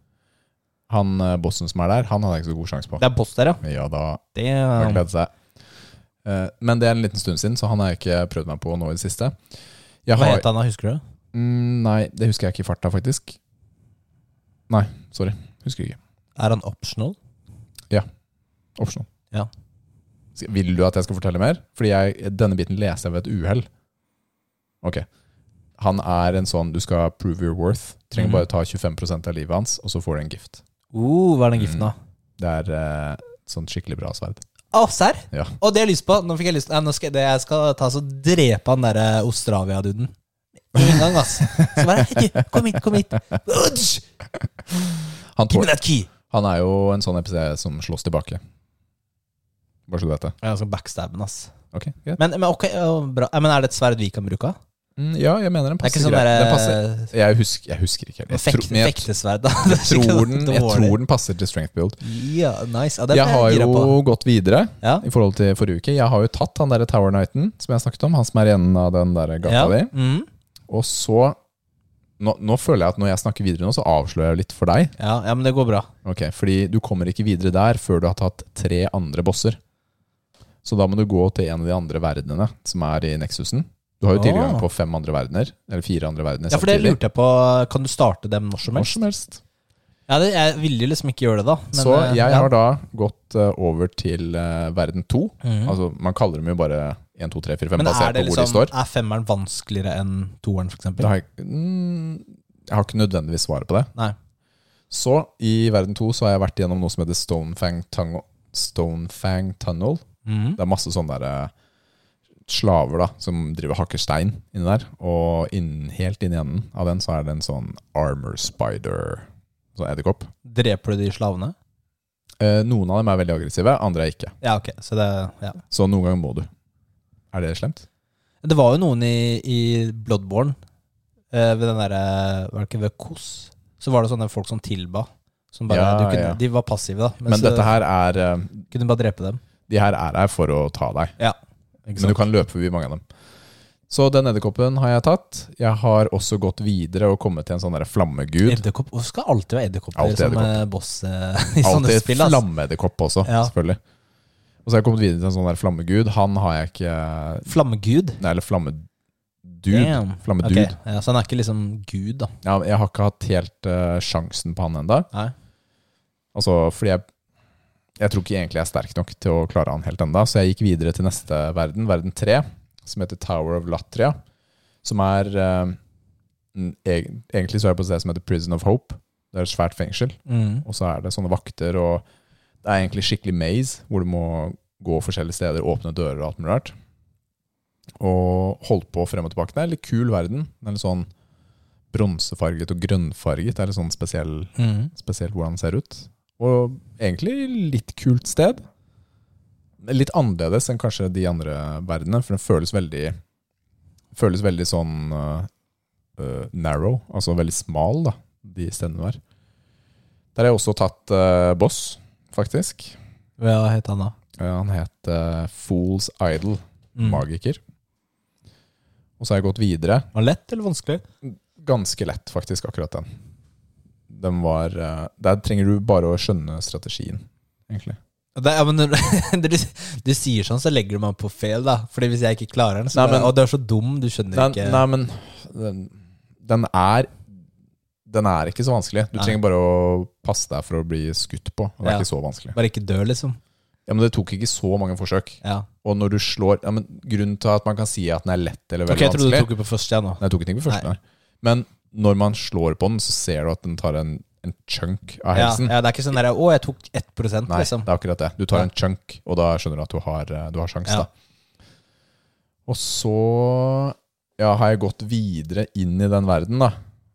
[SPEAKER 2] Han eh, bossen som er der, han hadde jeg ikke så god sjanse på.
[SPEAKER 1] Det er boss der, ja. eh,
[SPEAKER 2] Ja da, bare
[SPEAKER 1] Damn.
[SPEAKER 2] glede seg. Eh, Men det er en liten stund siden, så han har jeg ikke prøvd meg på nå i det siste. Jeg
[SPEAKER 1] Hva
[SPEAKER 2] har,
[SPEAKER 1] het han da, husker du?
[SPEAKER 2] Mm, nei, det husker jeg ikke i farta, faktisk. Nei, sorry. Husker ikke.
[SPEAKER 1] Er han optional?
[SPEAKER 2] Optional.
[SPEAKER 1] Ja.
[SPEAKER 2] Skal- Vil du at jeg skal fortelle mer? Fordi jeg, denne biten leser jeg ved et uhell. Ok. Han er en sånn du skal prove your worth. Trenger
[SPEAKER 1] Mhm.
[SPEAKER 2] bare ta 25 av livet hans, og så får du en gift.
[SPEAKER 1] Uh, hva er den giften, da?
[SPEAKER 2] Det er eh, sånn skikkelig bra sverd.
[SPEAKER 1] Å, serr?
[SPEAKER 2] Ja.
[SPEAKER 1] Å, det har jeg lyst på. Nå fikk jeg lyst Nei, nå skal jeg, det, jeg skal ta så drepe han derre Ostravia-duden. Med en gang, ass. Så bare «Du, Kom hit, kom hit. Udge!
[SPEAKER 2] Han,
[SPEAKER 1] Give
[SPEAKER 2] tål,
[SPEAKER 1] me that key!
[SPEAKER 2] han er jo en sånn episode som slåss tilbake. Bare så du vet det.
[SPEAKER 1] Jeg skal backstabbe han, ass.
[SPEAKER 2] Ok, greit.
[SPEAKER 1] Men, men, ok, ja, bra. Nei, men er det et sverd vi kan bruke?
[SPEAKER 2] Mm, ja, jeg mener den
[SPEAKER 1] Det er
[SPEAKER 2] passer
[SPEAKER 1] ikke sånn
[SPEAKER 2] greit. Den passer.
[SPEAKER 1] derre
[SPEAKER 2] Jeg, husker, jeg husker ikke. helt. Jeg,
[SPEAKER 1] fekt,
[SPEAKER 2] tror- men jeg,
[SPEAKER 1] fektesverd, da. Det er skikkelig
[SPEAKER 2] tror den, jeg
[SPEAKER 1] dårlig.
[SPEAKER 2] tror den passer til strength build.
[SPEAKER 1] Ja, nice. Ja, det
[SPEAKER 2] Jeg har
[SPEAKER 1] gira på.
[SPEAKER 2] jo gått videre
[SPEAKER 1] Ja.
[SPEAKER 2] i forhold til forrige uke. Jeg har jo tatt han der Tower Knighten som jeg snakket om. Han som er igjen av den der gata
[SPEAKER 1] Ja.
[SPEAKER 2] di.
[SPEAKER 1] Mm.
[SPEAKER 2] Og så nå, nå føler jeg at når jeg snakker videre nå, så avslører jeg litt for deg.
[SPEAKER 1] Ja, ja, men det går bra.
[SPEAKER 2] Ok, Fordi du kommer ikke videre der før du har tatt tre andre bosser. Så da må du gå til en av de andre verdenene som er i Nexusen. Du har jo tilgang
[SPEAKER 1] Ah.
[SPEAKER 2] på fem andre verdener. Eller fire andre verdener
[SPEAKER 1] Ja, for det lurte jeg på. Kan du starte dem når som
[SPEAKER 2] Når
[SPEAKER 1] helst?
[SPEAKER 2] som helst.
[SPEAKER 1] Ja, det, Jeg ville liksom ikke gjøre det, da. men,
[SPEAKER 2] så
[SPEAKER 1] eh,
[SPEAKER 2] jeg
[SPEAKER 1] ja.
[SPEAKER 2] har da gått eh, over til eh, verden to.
[SPEAKER 1] Mhm.
[SPEAKER 2] Altså, man kaller dem jo bare 1, 2, 3, 4, 5,
[SPEAKER 1] Men er,
[SPEAKER 2] basert
[SPEAKER 1] det
[SPEAKER 2] på hvor de
[SPEAKER 1] liksom,
[SPEAKER 2] står.
[SPEAKER 1] er femmeren vanskeligere enn toeren, for eksempel?
[SPEAKER 2] Det har jeg, mm, jeg har ikke nødvendigvis svaret på det.
[SPEAKER 1] Nei.
[SPEAKER 2] Så i verden 2 så har jeg vært gjennom noe som heter Stonefang Tunnel. Stonefang Tunnel.
[SPEAKER 1] Mhm.
[SPEAKER 2] Det er masse sånne der, eh, slaver da, som driver og hakker stein inni der. Og innen, helt inn i enden av den så er det en sånn armor spider. Sånn edderkopp.
[SPEAKER 1] Dreper du de slavene?
[SPEAKER 2] Eh, noen av dem er veldig aggressive, andre er ikke.
[SPEAKER 1] Ja, ok. Så det, ja.
[SPEAKER 2] Så noen ganger må du. Er det slemt?
[SPEAKER 1] det var jo noen i, i Bloodborne, eh, ved den derre Var det ikke ved Kos? Så var det sånne folk som tilba. Som bare,
[SPEAKER 2] Ja,
[SPEAKER 1] du kunne,
[SPEAKER 2] ja.
[SPEAKER 1] De var passive, da. Men,
[SPEAKER 2] Men
[SPEAKER 1] så
[SPEAKER 2] dette her er eh,
[SPEAKER 1] kunne du bare drepe dem.
[SPEAKER 2] De her er her for å ta deg.
[SPEAKER 1] Ja.
[SPEAKER 2] Men du kan løpe forbi mange av dem. Så den edderkoppen har jeg tatt. Jeg har også gått videre og kommet til en sånn der flammegud.
[SPEAKER 1] Edderkopp Hvorfor skal det alltid være edderkopper
[SPEAKER 2] Alltid
[SPEAKER 1] som
[SPEAKER 2] edderkopp.
[SPEAKER 1] eh, boss eh, i sånne
[SPEAKER 2] Alltid
[SPEAKER 1] spill? Altså.
[SPEAKER 2] flammeedderkopp også,
[SPEAKER 1] Ja.
[SPEAKER 2] selvfølgelig. Og så har jeg kommet videre til en sånn der flammegud. Han har jeg ikke
[SPEAKER 1] Flammegud?
[SPEAKER 2] Nei, eller flammedud.
[SPEAKER 1] Damn.
[SPEAKER 2] Flammedud.
[SPEAKER 1] Ok, Ja, så han er ikke liksom gud, da.
[SPEAKER 2] Ja, jeg har ikke hatt helt eh, sjansen på han enda
[SPEAKER 1] Nei.
[SPEAKER 2] Altså, fordi jeg Jeg tror ikke egentlig jeg er sterk nok til å klare han helt enda Så jeg gikk videre til neste verden, verden 3, som heter Tower of Latria. Som er eh, en- eg- Egentlig så er jeg på et sted som heter Prison of Hope. Det er et svært fengsel.
[SPEAKER 1] Mm.
[SPEAKER 2] Og så er det sånne vakter, og det er egentlig skikkelig maze, hvor du må gå forskjellige steder, åpne dører og alt mulig rart. Og holdt på frem og tilbake. Det er en litt kul verden. Den er litt sånn bronsefarget og grønnfarget. Det er litt sånn spesiell
[SPEAKER 1] Mm.
[SPEAKER 2] spesielt hvordan den ser ut. Og egentlig litt kult sted. Litt annerledes enn kanskje de andre verdenene, for den føles veldig Føles veldig sånn eh, eh, narrow, altså veldig smal, da, de stedene der. Der har jeg også tatt eh, boss, faktisk.
[SPEAKER 1] Hva het han da?
[SPEAKER 2] Eh, han het eh, Fools Idol,
[SPEAKER 1] Mm.
[SPEAKER 2] magiker. Og så har jeg gått videre.
[SPEAKER 1] Var det lett eller vanskelig?
[SPEAKER 2] Ganske lett, faktisk, akkurat den. Den var eh, Der trenger du bare å skjønne strategien, egentlig.
[SPEAKER 1] Det, ja, men når du, du sier sånn, så legger du meg på feil, da. Fordi hvis jeg ikke klarer den, så
[SPEAKER 2] Nei, men-
[SPEAKER 1] Å, du er så dum, du skjønner
[SPEAKER 2] Nei,
[SPEAKER 1] ikke
[SPEAKER 2] nei men den, den er Den er ikke så vanskelig. Du
[SPEAKER 1] Nei.
[SPEAKER 2] trenger bare å passe deg for å bli skutt på. og Det er
[SPEAKER 1] Ja.
[SPEAKER 2] ikke så vanskelig.
[SPEAKER 1] Bare ikke dø, liksom.
[SPEAKER 2] Ja, Men det tok ikke så mange forsøk.
[SPEAKER 1] Ja.
[SPEAKER 2] Og når du slår ja, men Grunnen til at man kan si at den er lett eller
[SPEAKER 1] Ok,
[SPEAKER 2] veldig
[SPEAKER 1] jeg trodde du
[SPEAKER 2] vanskelig
[SPEAKER 1] tok det på første, jeg nå.
[SPEAKER 2] Nei, jeg tok den ikke på første. der. Men når man slår på den, så ser du at den tar en, en chunk av
[SPEAKER 1] Ja,
[SPEAKER 2] helsen.
[SPEAKER 1] ja, det er ikke sånn derre Å, jeg tok 1
[SPEAKER 2] Nei,
[SPEAKER 1] liksom.
[SPEAKER 2] det er akkurat det. Du tar
[SPEAKER 1] Ja.
[SPEAKER 2] en chunk, og da skjønner du at du har, eh, du har sjans.
[SPEAKER 1] Ja.
[SPEAKER 2] Da. Og så ja, har jeg gått videre inn i den verden, da.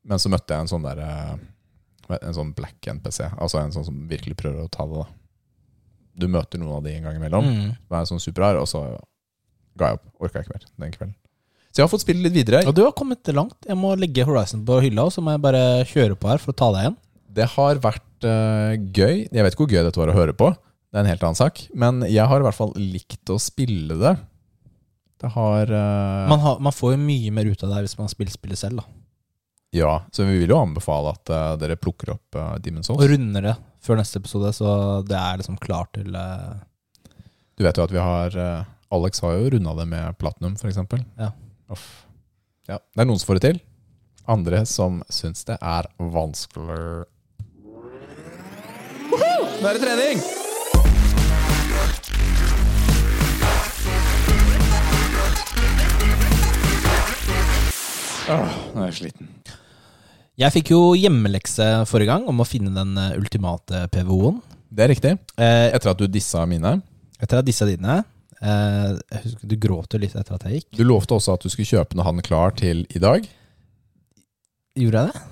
[SPEAKER 2] Men så møtte jeg en sånn der eh, En sånn black NPC. Altså en sånn som virkelig prøver å ta det, da. Du møter noen av de en gang imellom.
[SPEAKER 1] Mm.
[SPEAKER 2] Som er sånn superrar, og så ga jeg opp. Orka jeg ikke mer den kvelden. Så jeg har fått spille litt videre.
[SPEAKER 1] Og du har kommet langt. Jeg må legge Horizon på hylla, og så må jeg bare kjøre på her for å ta deg igjen.
[SPEAKER 2] Det har vært eh, gøy. Jeg vet ikke hvor gøy dette var å høre på. Det er en helt annen sak. Men jeg har i hvert fall likt å spille det. Det har eh,
[SPEAKER 1] Man, har, man får jo mye mer ut av det her hvis man spiller spillet selv, da.
[SPEAKER 2] Ja, så vi vil jo anbefale at eh, dere plukker opp uh, Demon's
[SPEAKER 1] Og
[SPEAKER 2] Souls.
[SPEAKER 1] runder det før neste episode, så det er liksom klar til eh,
[SPEAKER 2] Du vet jo at vi har eh, Alex har jo runda det med Platinum, for eksempel.
[SPEAKER 1] Ja.
[SPEAKER 2] Uff. ja. Det er noen som får det til. Andre som syns det er vanskelig. Nå er det trening! Åh, nå er jeg sliten.
[SPEAKER 1] Jeg fikk jo hjemmelekse forrige gang om å finne den eh, ultimate PVO-en.
[SPEAKER 2] Det er riktig.
[SPEAKER 1] Eh,
[SPEAKER 2] Etter at du dissa mine.
[SPEAKER 1] etter at disse dine eh, Jeg husker du gråt jo litt etter at jeg gikk.
[SPEAKER 2] Du lovte også at du skulle kjøpe når han klar til i dag.
[SPEAKER 1] Gjorde jeg det?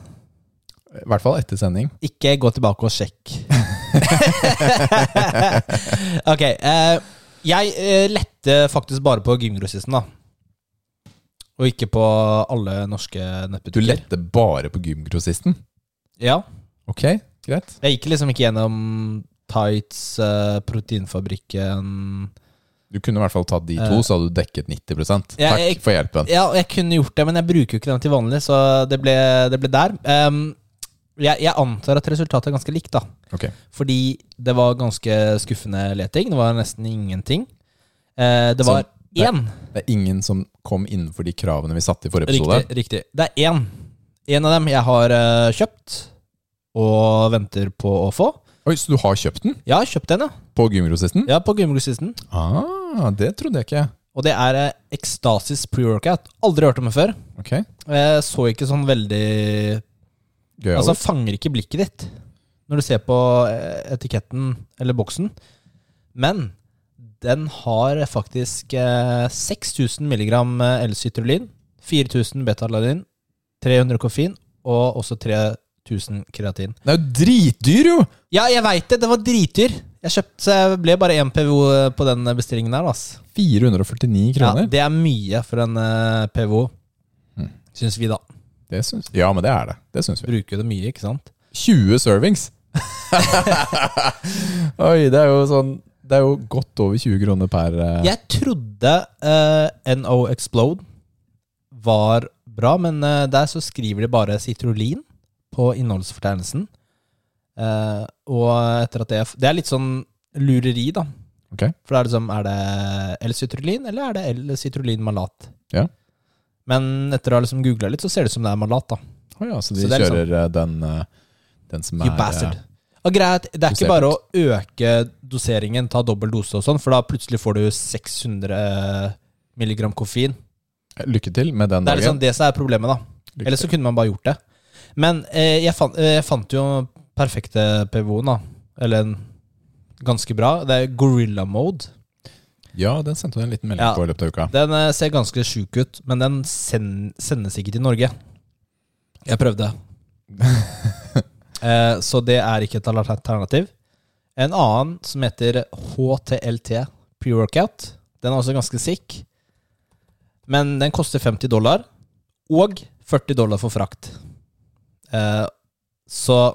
[SPEAKER 2] I hvert fall etter sending.
[SPEAKER 1] Ikke gå tilbake og sjekk. ok. Eh, jeg eh, lette faktisk bare på gymgrossisten, da. Og ikke på alle norske
[SPEAKER 2] Du
[SPEAKER 1] nettbutikker.
[SPEAKER 2] lette bare på gymgrossisten.
[SPEAKER 1] Ja.
[SPEAKER 2] Ok, greit.
[SPEAKER 1] Jeg gikk liksom ikke gjennom Tights, eh, Proteinfabrikken
[SPEAKER 2] Du kunne i hvert fall tatt de to, så hadde du dekket 90 Takk
[SPEAKER 1] Eh. Ja, jeg-
[SPEAKER 2] for hjelpen.
[SPEAKER 1] Ja, og jeg kunne gjort det, men jeg bruker jo ikke den til vanlig, så det ble, det ble der. Ehm, jeg, jeg antar at resultatet er ganske likt, da.
[SPEAKER 2] Ok,
[SPEAKER 1] Fordi det var ganske skuffende leting. Det var nesten ingenting. Eh, det var
[SPEAKER 2] Så det-
[SPEAKER 1] én.
[SPEAKER 2] Det er ingen som kom innenfor de kravene vi satte i forrige episode.
[SPEAKER 1] Riktig, riktig. Det er én. En av dem jeg har eh, kjøpt og venter på å få.
[SPEAKER 2] Oi, Så du har kjøpt den
[SPEAKER 1] Jeg har kjøpt en, ja.
[SPEAKER 2] på gymgrossisten?
[SPEAKER 1] ja på gymgrossisten.
[SPEAKER 2] Ah, det trodde jeg ikke.
[SPEAKER 1] Og det er eh, Ekstasis pre-workout. Aldri hørt om det før.
[SPEAKER 2] Ok,
[SPEAKER 1] Jeg så ikke sånn veldig
[SPEAKER 2] gøy
[SPEAKER 1] Altså
[SPEAKER 2] altså,
[SPEAKER 1] fanger ikke blikket ditt når du ser på eh, etiketten eller boksen. Men den har faktisk eh, 6000 mg L-cytrulin, 4000 beta-alanin, 300 koffein og også 3000 kreatin.
[SPEAKER 2] Den er jo dritdyr, jo!
[SPEAKER 1] Ja, jeg veit det! Den var dritdyr. Jeg kjøpte, så jeg ble bare én PVO eh, på den bestillingen her. ass.
[SPEAKER 2] 449
[SPEAKER 1] Ja,
[SPEAKER 2] kroner.
[SPEAKER 1] det er mye for en eh, PVO, syns vi da.
[SPEAKER 2] det syns Ja, men det er det. Det syns vi.
[SPEAKER 1] Bruker jo det mye, ikke sant?
[SPEAKER 2] 20 servings! Oi, det er jo sånn Det er jo godt over 20 kroner per eh,
[SPEAKER 1] Jeg trodde eh, NO Explode var bra, men eh, der så skriver de bare Citrolin på innholdsfortegnelsen. Eh, og etter at det Det er litt sånn lureri, da.
[SPEAKER 2] Ok.
[SPEAKER 1] For det er liksom Er det L-citrulin, eller er det L-citrulin malat?
[SPEAKER 2] Ja.
[SPEAKER 1] Men etter å ha liksom googla litt, så ser det ut som det er malat, da.
[SPEAKER 2] Å ja, så de
[SPEAKER 1] Så det er liksom-
[SPEAKER 2] kjører eh, den, eh, den som
[SPEAKER 1] You
[SPEAKER 2] er eh,
[SPEAKER 1] bastard. Og greit, Det er ikke
[SPEAKER 2] dosert
[SPEAKER 1] bare å øke doseringen, ta dobbel dose og sånn, for da plutselig får du 600 milligram koffein.
[SPEAKER 2] eh, Lykke til med den
[SPEAKER 1] Det er
[SPEAKER 2] dagen.
[SPEAKER 1] liksom det som er problemet, da.
[SPEAKER 2] Lykke
[SPEAKER 1] Ellers så kunne man bare gjort det. Men eh, jeg, fant, eh, jeg fant jo perfekte PVO-en, da. Eller en ganske bra. Det er Gorilla Mode.
[SPEAKER 2] Ja, den sendte du en liten melding
[SPEAKER 1] Ja.
[SPEAKER 2] på i løpet av uka.
[SPEAKER 1] Den eh, ser ganske sjuk ut, men den send, sendes ikke til Norge. Jeg prøvde. eh, så det er ikke et alternativ. En annen som heter HTLT pre-workout, den er også ganske sick. Men den koster 50 dollar, og 40 dollar for frakt. Eh, så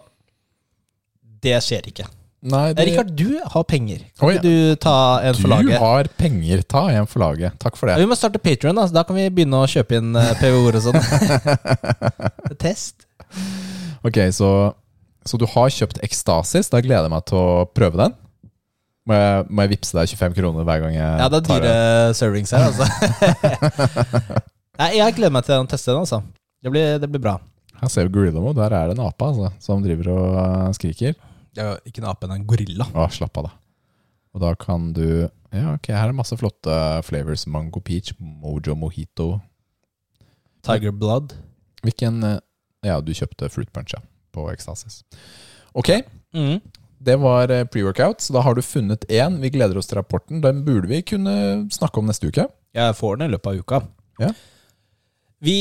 [SPEAKER 1] det skjer ikke.
[SPEAKER 2] Nei,
[SPEAKER 1] Eh, Rikard, du har penger. Kan
[SPEAKER 2] Oi,
[SPEAKER 1] ikke du ta en for
[SPEAKER 2] du
[SPEAKER 1] laget?
[SPEAKER 2] har penger. Ta en for laget. Takk for
[SPEAKER 1] Ja,
[SPEAKER 2] det.
[SPEAKER 1] vi må starte Patreon da. så Da kan vi begynne å kjøpe inn eh, PVO-er og sånn. Test.
[SPEAKER 2] Ok, så, så du har kjøpt Ekstasis. Da gleder jeg meg til å prøve den. Må jeg, må jeg vippse deg 25 kroner hver gang jeg
[SPEAKER 1] Ja, det er
[SPEAKER 2] tar
[SPEAKER 1] dyre
[SPEAKER 2] den?
[SPEAKER 1] servings her, altså. Nei, jeg gleder meg til å teste den, altså. Det blir, det blir bra.
[SPEAKER 2] Her ser du Gorilla Mode. Der er det en ape altså, som driver og eh, skriker.
[SPEAKER 1] ikke en ape, en gorilla.
[SPEAKER 2] Å, slapp av, da. Og da kan du Ja, ok, her er det masse flotte eh, flavors. Mango peach, mojo mojito.
[SPEAKER 1] Tiger blood.
[SPEAKER 2] Hvilken eh, Ja, du kjøpte fruit punch ja, på Ekstasis. Ok,
[SPEAKER 1] Mm.
[SPEAKER 2] det var eh, pre-workout, så da har du funnet én. Vi gleder oss til rapporten. Den burde vi kunne snakke om neste uke.
[SPEAKER 1] Jeg får den i løpet av uka.
[SPEAKER 2] Ja.
[SPEAKER 1] Vi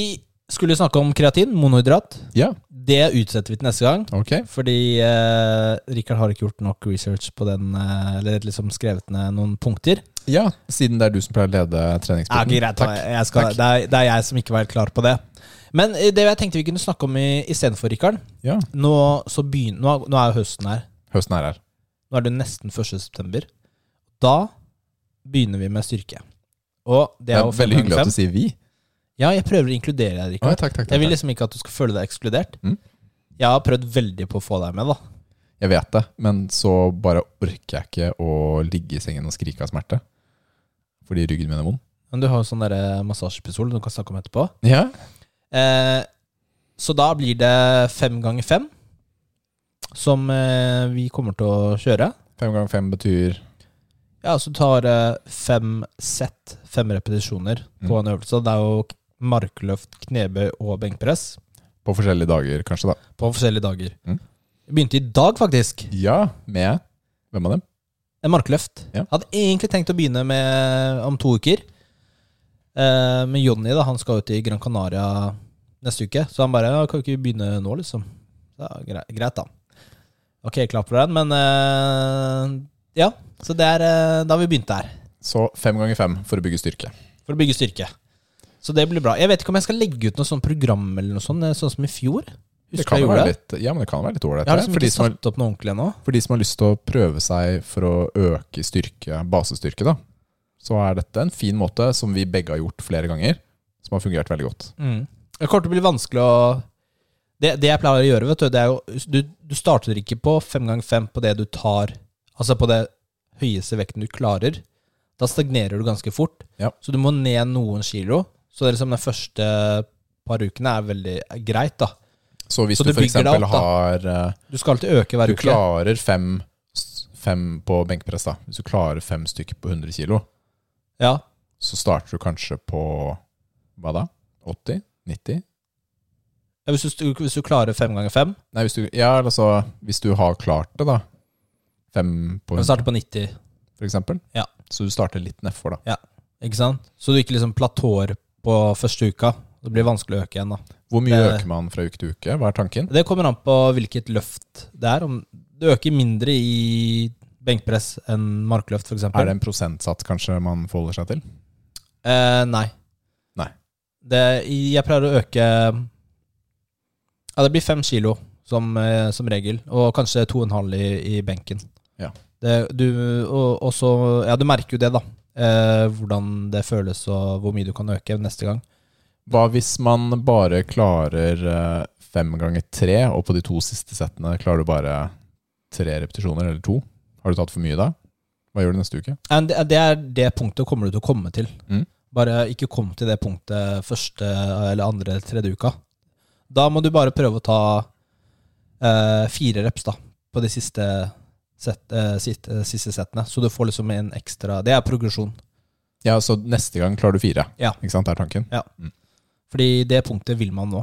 [SPEAKER 1] skulle snakke om kreatin, monohydrat.
[SPEAKER 2] Ja,
[SPEAKER 1] Det utsetter vi til neste gang.
[SPEAKER 2] ok.
[SPEAKER 1] Fordi eh, Rikard har ikke gjort nok research på den, eh, eller liksom skrevet ned noen punkter.
[SPEAKER 2] Ja, siden det er du som pleier å lede
[SPEAKER 1] Ja,
[SPEAKER 2] treningssporten.
[SPEAKER 1] ok, greit, da. jeg skal,
[SPEAKER 2] Takk.
[SPEAKER 1] det, er, det er jeg som ikke var helt klar på det. Men eh, det jeg tenkte vi kunne snakke om i- istedenfor, Rikard
[SPEAKER 2] Ja,
[SPEAKER 1] nå, så begyn- nå, nå er jo høsten her.
[SPEAKER 2] høsten er her.
[SPEAKER 1] Nå er det nesten 1. september. Da begynner vi med styrke. Og det
[SPEAKER 2] Det
[SPEAKER 1] er,
[SPEAKER 2] er
[SPEAKER 1] jo fem
[SPEAKER 2] veldig hyggelig
[SPEAKER 1] ganger
[SPEAKER 2] at
[SPEAKER 1] fem.
[SPEAKER 2] du sier vi.
[SPEAKER 1] Ja, jeg prøver å inkludere deg,
[SPEAKER 2] Å,
[SPEAKER 1] Rikard.
[SPEAKER 2] ja, takk, takk, takk,
[SPEAKER 1] Jeg vil
[SPEAKER 2] takk.
[SPEAKER 1] liksom ikke at du skal føle deg ekskludert.
[SPEAKER 2] Mm.
[SPEAKER 1] Jeg har prøvd veldig på å få deg med, da.
[SPEAKER 2] Jeg vet det, men så bare orker jeg ikke å ligge i sengen og skrike av smerte. Fordi ryggen min er vond.
[SPEAKER 1] eh, Men du har jo sånn derre massasjepistol du kan snakke om etterpå.
[SPEAKER 2] Ja,
[SPEAKER 1] Eh, Så da blir det fem ganger fem som eh, vi kommer til å kjøre.
[SPEAKER 2] Fem ganger fem betyr
[SPEAKER 1] Ja, så tar eh, fem sett, fem repetisjoner på en øvelse. Det er jo k- markløft, knebøy og benkpress
[SPEAKER 2] på forskjellige dager, kanskje, da.
[SPEAKER 1] på forskjellige dager.
[SPEAKER 2] Mm.
[SPEAKER 1] Jeg begynte i dag, faktisk.
[SPEAKER 2] Ja, med Hvem av dem?
[SPEAKER 1] En markløft.
[SPEAKER 2] Ja.
[SPEAKER 1] Hadde egentlig tenkt å begynne med om to uker. Eh, men Jonny da, han skal jo til Gran Canaria neste uke, så han bare ja, 'Kan vi ikke begynne nå', liksom. Ja, greit, greit, da. Ok, klapp for den, men eh, Ja. Så det er eh, da vi begynte her.
[SPEAKER 2] Så fem ganger fem for å bygge styrke.
[SPEAKER 1] For å bygge styrke. Så det blir bra. Jeg vet ikke om jeg skal legge ut noe sånt program eller noe sånt, eh, sånn som i fjor.
[SPEAKER 2] Det
[SPEAKER 1] Husker
[SPEAKER 2] kan
[SPEAKER 1] jeg
[SPEAKER 2] jo
[SPEAKER 1] gjorde
[SPEAKER 2] være
[SPEAKER 1] det?
[SPEAKER 2] litt, ja, men det kan være litt ålreit.
[SPEAKER 1] Jeg har
[SPEAKER 2] det,
[SPEAKER 1] liksom
[SPEAKER 2] For, de
[SPEAKER 1] ikke
[SPEAKER 2] som har-
[SPEAKER 1] satt opp noe ordentlig ennå.
[SPEAKER 2] for de som har lyst til å prøve seg for å øke styrke, basestyrke, da, så er dette en fin måte som vi begge har gjort flere ganger, som har fungert veldig godt.
[SPEAKER 1] Mm. Det kommer til å bli vanskelig å det, det jeg pleier å gjøre, vet du, det er jo Du, du starter ikke på fem ganger fem på det du tar Altså på det høyeste vekten du klarer. Da stagnerer du ganske fort.
[SPEAKER 2] Ja.
[SPEAKER 1] Så du må ned noen kilo. Så det er liksom de første par ukene er veldig greit, da.
[SPEAKER 2] Så hvis
[SPEAKER 1] Så
[SPEAKER 2] du,
[SPEAKER 1] du
[SPEAKER 2] for
[SPEAKER 1] bygger det
[SPEAKER 2] eksempel
[SPEAKER 1] opp, da.
[SPEAKER 2] har eh,
[SPEAKER 1] Du skal alltid øke hver
[SPEAKER 2] Du
[SPEAKER 1] uke.
[SPEAKER 2] klarer fem, s- fem på benkpress, da. Hvis du klarer fem stykker på 100 kilo,
[SPEAKER 1] Ja.
[SPEAKER 2] så starter du kanskje på hva da? 80? 90?
[SPEAKER 1] Ja, Hvis du, hvis du klarer fem ganger fem,
[SPEAKER 2] Nei, hvis du, ja, altså, hvis du har klart det, da. Fem på
[SPEAKER 1] kan du
[SPEAKER 2] 100,
[SPEAKER 1] starte på 90,
[SPEAKER 2] for eksempel.
[SPEAKER 1] Ja.
[SPEAKER 2] Så du starter litt nedfor, da.
[SPEAKER 1] ikke sant? Så du ikke liksom platåer på første uka. Det blir vanskelig å øke igjen, da.
[SPEAKER 2] Hvor mye
[SPEAKER 1] Det-
[SPEAKER 2] øker man fra uke til uke? Hva er tanken?
[SPEAKER 1] Det kommer an på hvilket løft det er. Om det øker mindre i benkpress enn markløft, f.eks.
[SPEAKER 2] Er det en prosentsats kanskje man forholder seg til?
[SPEAKER 1] Eh, nei.
[SPEAKER 2] Nei.
[SPEAKER 1] Det, jeg pleier å øke Ja, det blir fem kilo som, eh, som regel, og kanskje to og en halv i, i benken.
[SPEAKER 2] Ja.
[SPEAKER 1] Det, du, og, og så, ja, du merker jo det, da. Eh, hvordan det føles, og hvor mye du kan øke neste gang.
[SPEAKER 2] Hva hvis man bare klarer eh, fem ganger tre, og på de to siste settene klarer du bare tre repetisjoner, eller to? Har du tatt for mye da? Hva gjør du neste uke?
[SPEAKER 1] Ja, men Det, det er det punktet kommer du til å komme til.
[SPEAKER 2] Mm.
[SPEAKER 1] Bare ikke kom til det punktet første eller andre eller tredje uka. Da må du bare prøve å ta eh, fire reps da, på de siste, set, eh, sit- eh, siste settene. Så du får liksom en ekstra Det er progresjon.
[SPEAKER 2] Ja, så neste gang klarer du fire.
[SPEAKER 1] Ja.
[SPEAKER 2] Ikke sant, det er tanken.
[SPEAKER 1] Fordi det punktet vil man nå.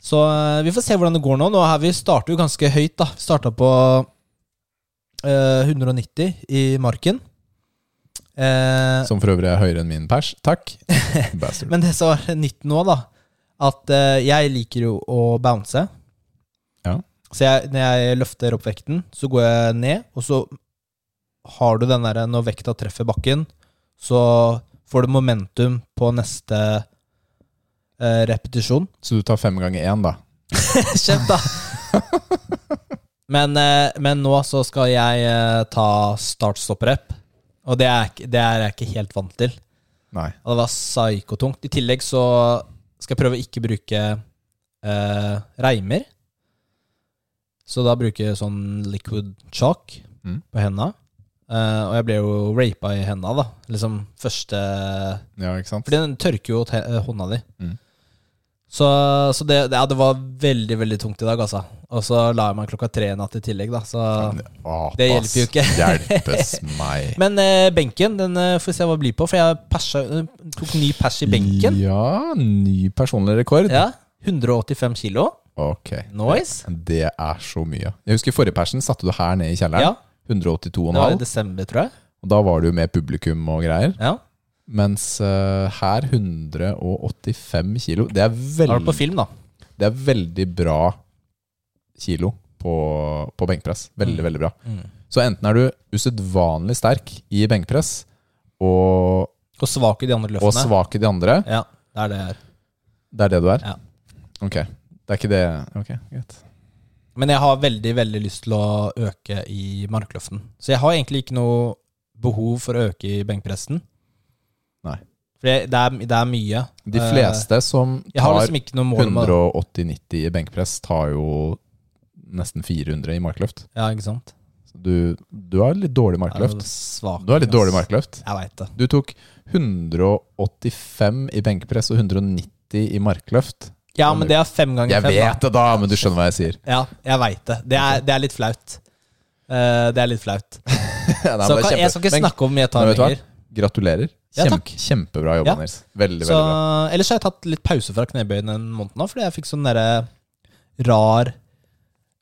[SPEAKER 1] Så eh, vi får se hvordan det går nå. Nå har Vi starter jo ganske høyt. da. Vi starta på eh, 190 i marken. Eh,
[SPEAKER 2] Som for øvrig er høyere enn min pers. Takk. Bastard.
[SPEAKER 1] Men det som er nytt nå, da, at eh, jeg liker jo å bounce.
[SPEAKER 2] Ja.
[SPEAKER 1] Så jeg, når jeg løfter opp vekten, så går jeg ned, og så har du den derre Når vekta treffer bakken, så får du momentum på neste eh, repetisjon.
[SPEAKER 2] Så du tar fem ganger én, da.
[SPEAKER 1] Kjeft, da! men, eh, men nå så skal jeg eh, ta start-stopp-rep, og det er, ikke- det er jeg ikke helt vant til.
[SPEAKER 2] Nei.
[SPEAKER 1] Og det var psykotungt. I tillegg så skal jeg prøve å ikke bruke eh, reimer. Så da bruker jeg sånn liquid chalk
[SPEAKER 2] Mm.
[SPEAKER 1] på henda. Eh, og jeg ble jo rapa i henda, da. Liksom første
[SPEAKER 2] Ja, ikke sant?
[SPEAKER 1] Fordi den tørker jo te- eh, hånda di.
[SPEAKER 2] Mm.
[SPEAKER 1] Så, så det, ja, det var veldig veldig tungt i dag, altså. Og så la jeg meg klokka tre i natt i tillegg, da. Så
[SPEAKER 2] Apas,
[SPEAKER 1] Det hjelper jo ikke.
[SPEAKER 2] Hjelpes meg.
[SPEAKER 1] Men eh, benken den eh, får vi se hva det blir på, for jeg persa, tok ny pers i benken.
[SPEAKER 2] Ja, ny personlig rekord.
[SPEAKER 1] Ja, 185 kilo.
[SPEAKER 2] Ok.
[SPEAKER 1] Nice.
[SPEAKER 2] Det er så mye. Jeg husker forrige persen satte du her nede i
[SPEAKER 1] Ja,
[SPEAKER 2] kjelleren.
[SPEAKER 1] det var i
[SPEAKER 2] 182,5.
[SPEAKER 1] desember, tror jeg.
[SPEAKER 2] Og da var det jo med publikum og greier.
[SPEAKER 1] Ja.
[SPEAKER 2] Mens eh, her 185 kilo. Det er
[SPEAKER 1] Da var det
[SPEAKER 2] veldig,
[SPEAKER 1] på film, da.
[SPEAKER 2] det er veldig bra kilo på, på benkpress.
[SPEAKER 1] Mm.
[SPEAKER 2] Veldig, veldig bra. Så enten er du usedvanlig sterk i benkpress og,
[SPEAKER 1] Og svak i de andre
[SPEAKER 2] og
[SPEAKER 1] løftene.
[SPEAKER 2] svak i de andre,
[SPEAKER 1] Ja, det er det her.
[SPEAKER 2] det er det du er?
[SPEAKER 1] Ja.
[SPEAKER 2] Ok. Det er ikke det Ok, greit.
[SPEAKER 1] Men jeg har veldig, veldig lyst til å øke i markløften. Så jeg har egentlig ikke noe behov for å øke i benkpressen.
[SPEAKER 2] Nei.
[SPEAKER 1] For jeg- det er, det er mye.
[SPEAKER 2] De
[SPEAKER 1] Eh,
[SPEAKER 2] fleste som
[SPEAKER 1] Jeg har
[SPEAKER 2] tar
[SPEAKER 1] liksom ikke noe mål med det.
[SPEAKER 2] 180-90 i benkpress, tar jo nesten 400 i markløft.
[SPEAKER 1] Ja, ikke sant?
[SPEAKER 2] Så Du, du har litt dårlig
[SPEAKER 1] Jeg er jo
[SPEAKER 2] markløft.
[SPEAKER 1] Svak,
[SPEAKER 2] Du har litt
[SPEAKER 1] ass.
[SPEAKER 2] dårlig markløft.
[SPEAKER 1] Jeg veit det.
[SPEAKER 2] Du tok 185 i benkpress og 190 i markløft.
[SPEAKER 1] Ja, men det er fem ganger
[SPEAKER 2] Jeg
[SPEAKER 1] fem. da.
[SPEAKER 2] vet det, da, men du skjønner hva jeg sier.
[SPEAKER 1] Ja, jeg veit det. Det er, det er litt flaut. Eh, det er litt flaut.
[SPEAKER 2] Nei, men
[SPEAKER 1] Så
[SPEAKER 2] det er
[SPEAKER 1] kan, jeg skal
[SPEAKER 2] kjempe-
[SPEAKER 1] ikke
[SPEAKER 2] Men-
[SPEAKER 1] snakke om jeg
[SPEAKER 2] Men
[SPEAKER 1] tar
[SPEAKER 2] vet du hva?
[SPEAKER 1] lenger.
[SPEAKER 2] Gratulerer.
[SPEAKER 1] Ja,
[SPEAKER 2] Kjempe-
[SPEAKER 1] takk.
[SPEAKER 2] Kjempebra jobba,
[SPEAKER 1] Ja.
[SPEAKER 2] Nils. Veldig,
[SPEAKER 1] Så,
[SPEAKER 2] veldig bra.
[SPEAKER 1] ellers har jeg tatt litt pause fra knebøyen en måned nå, fordi jeg fikk sånn derre rar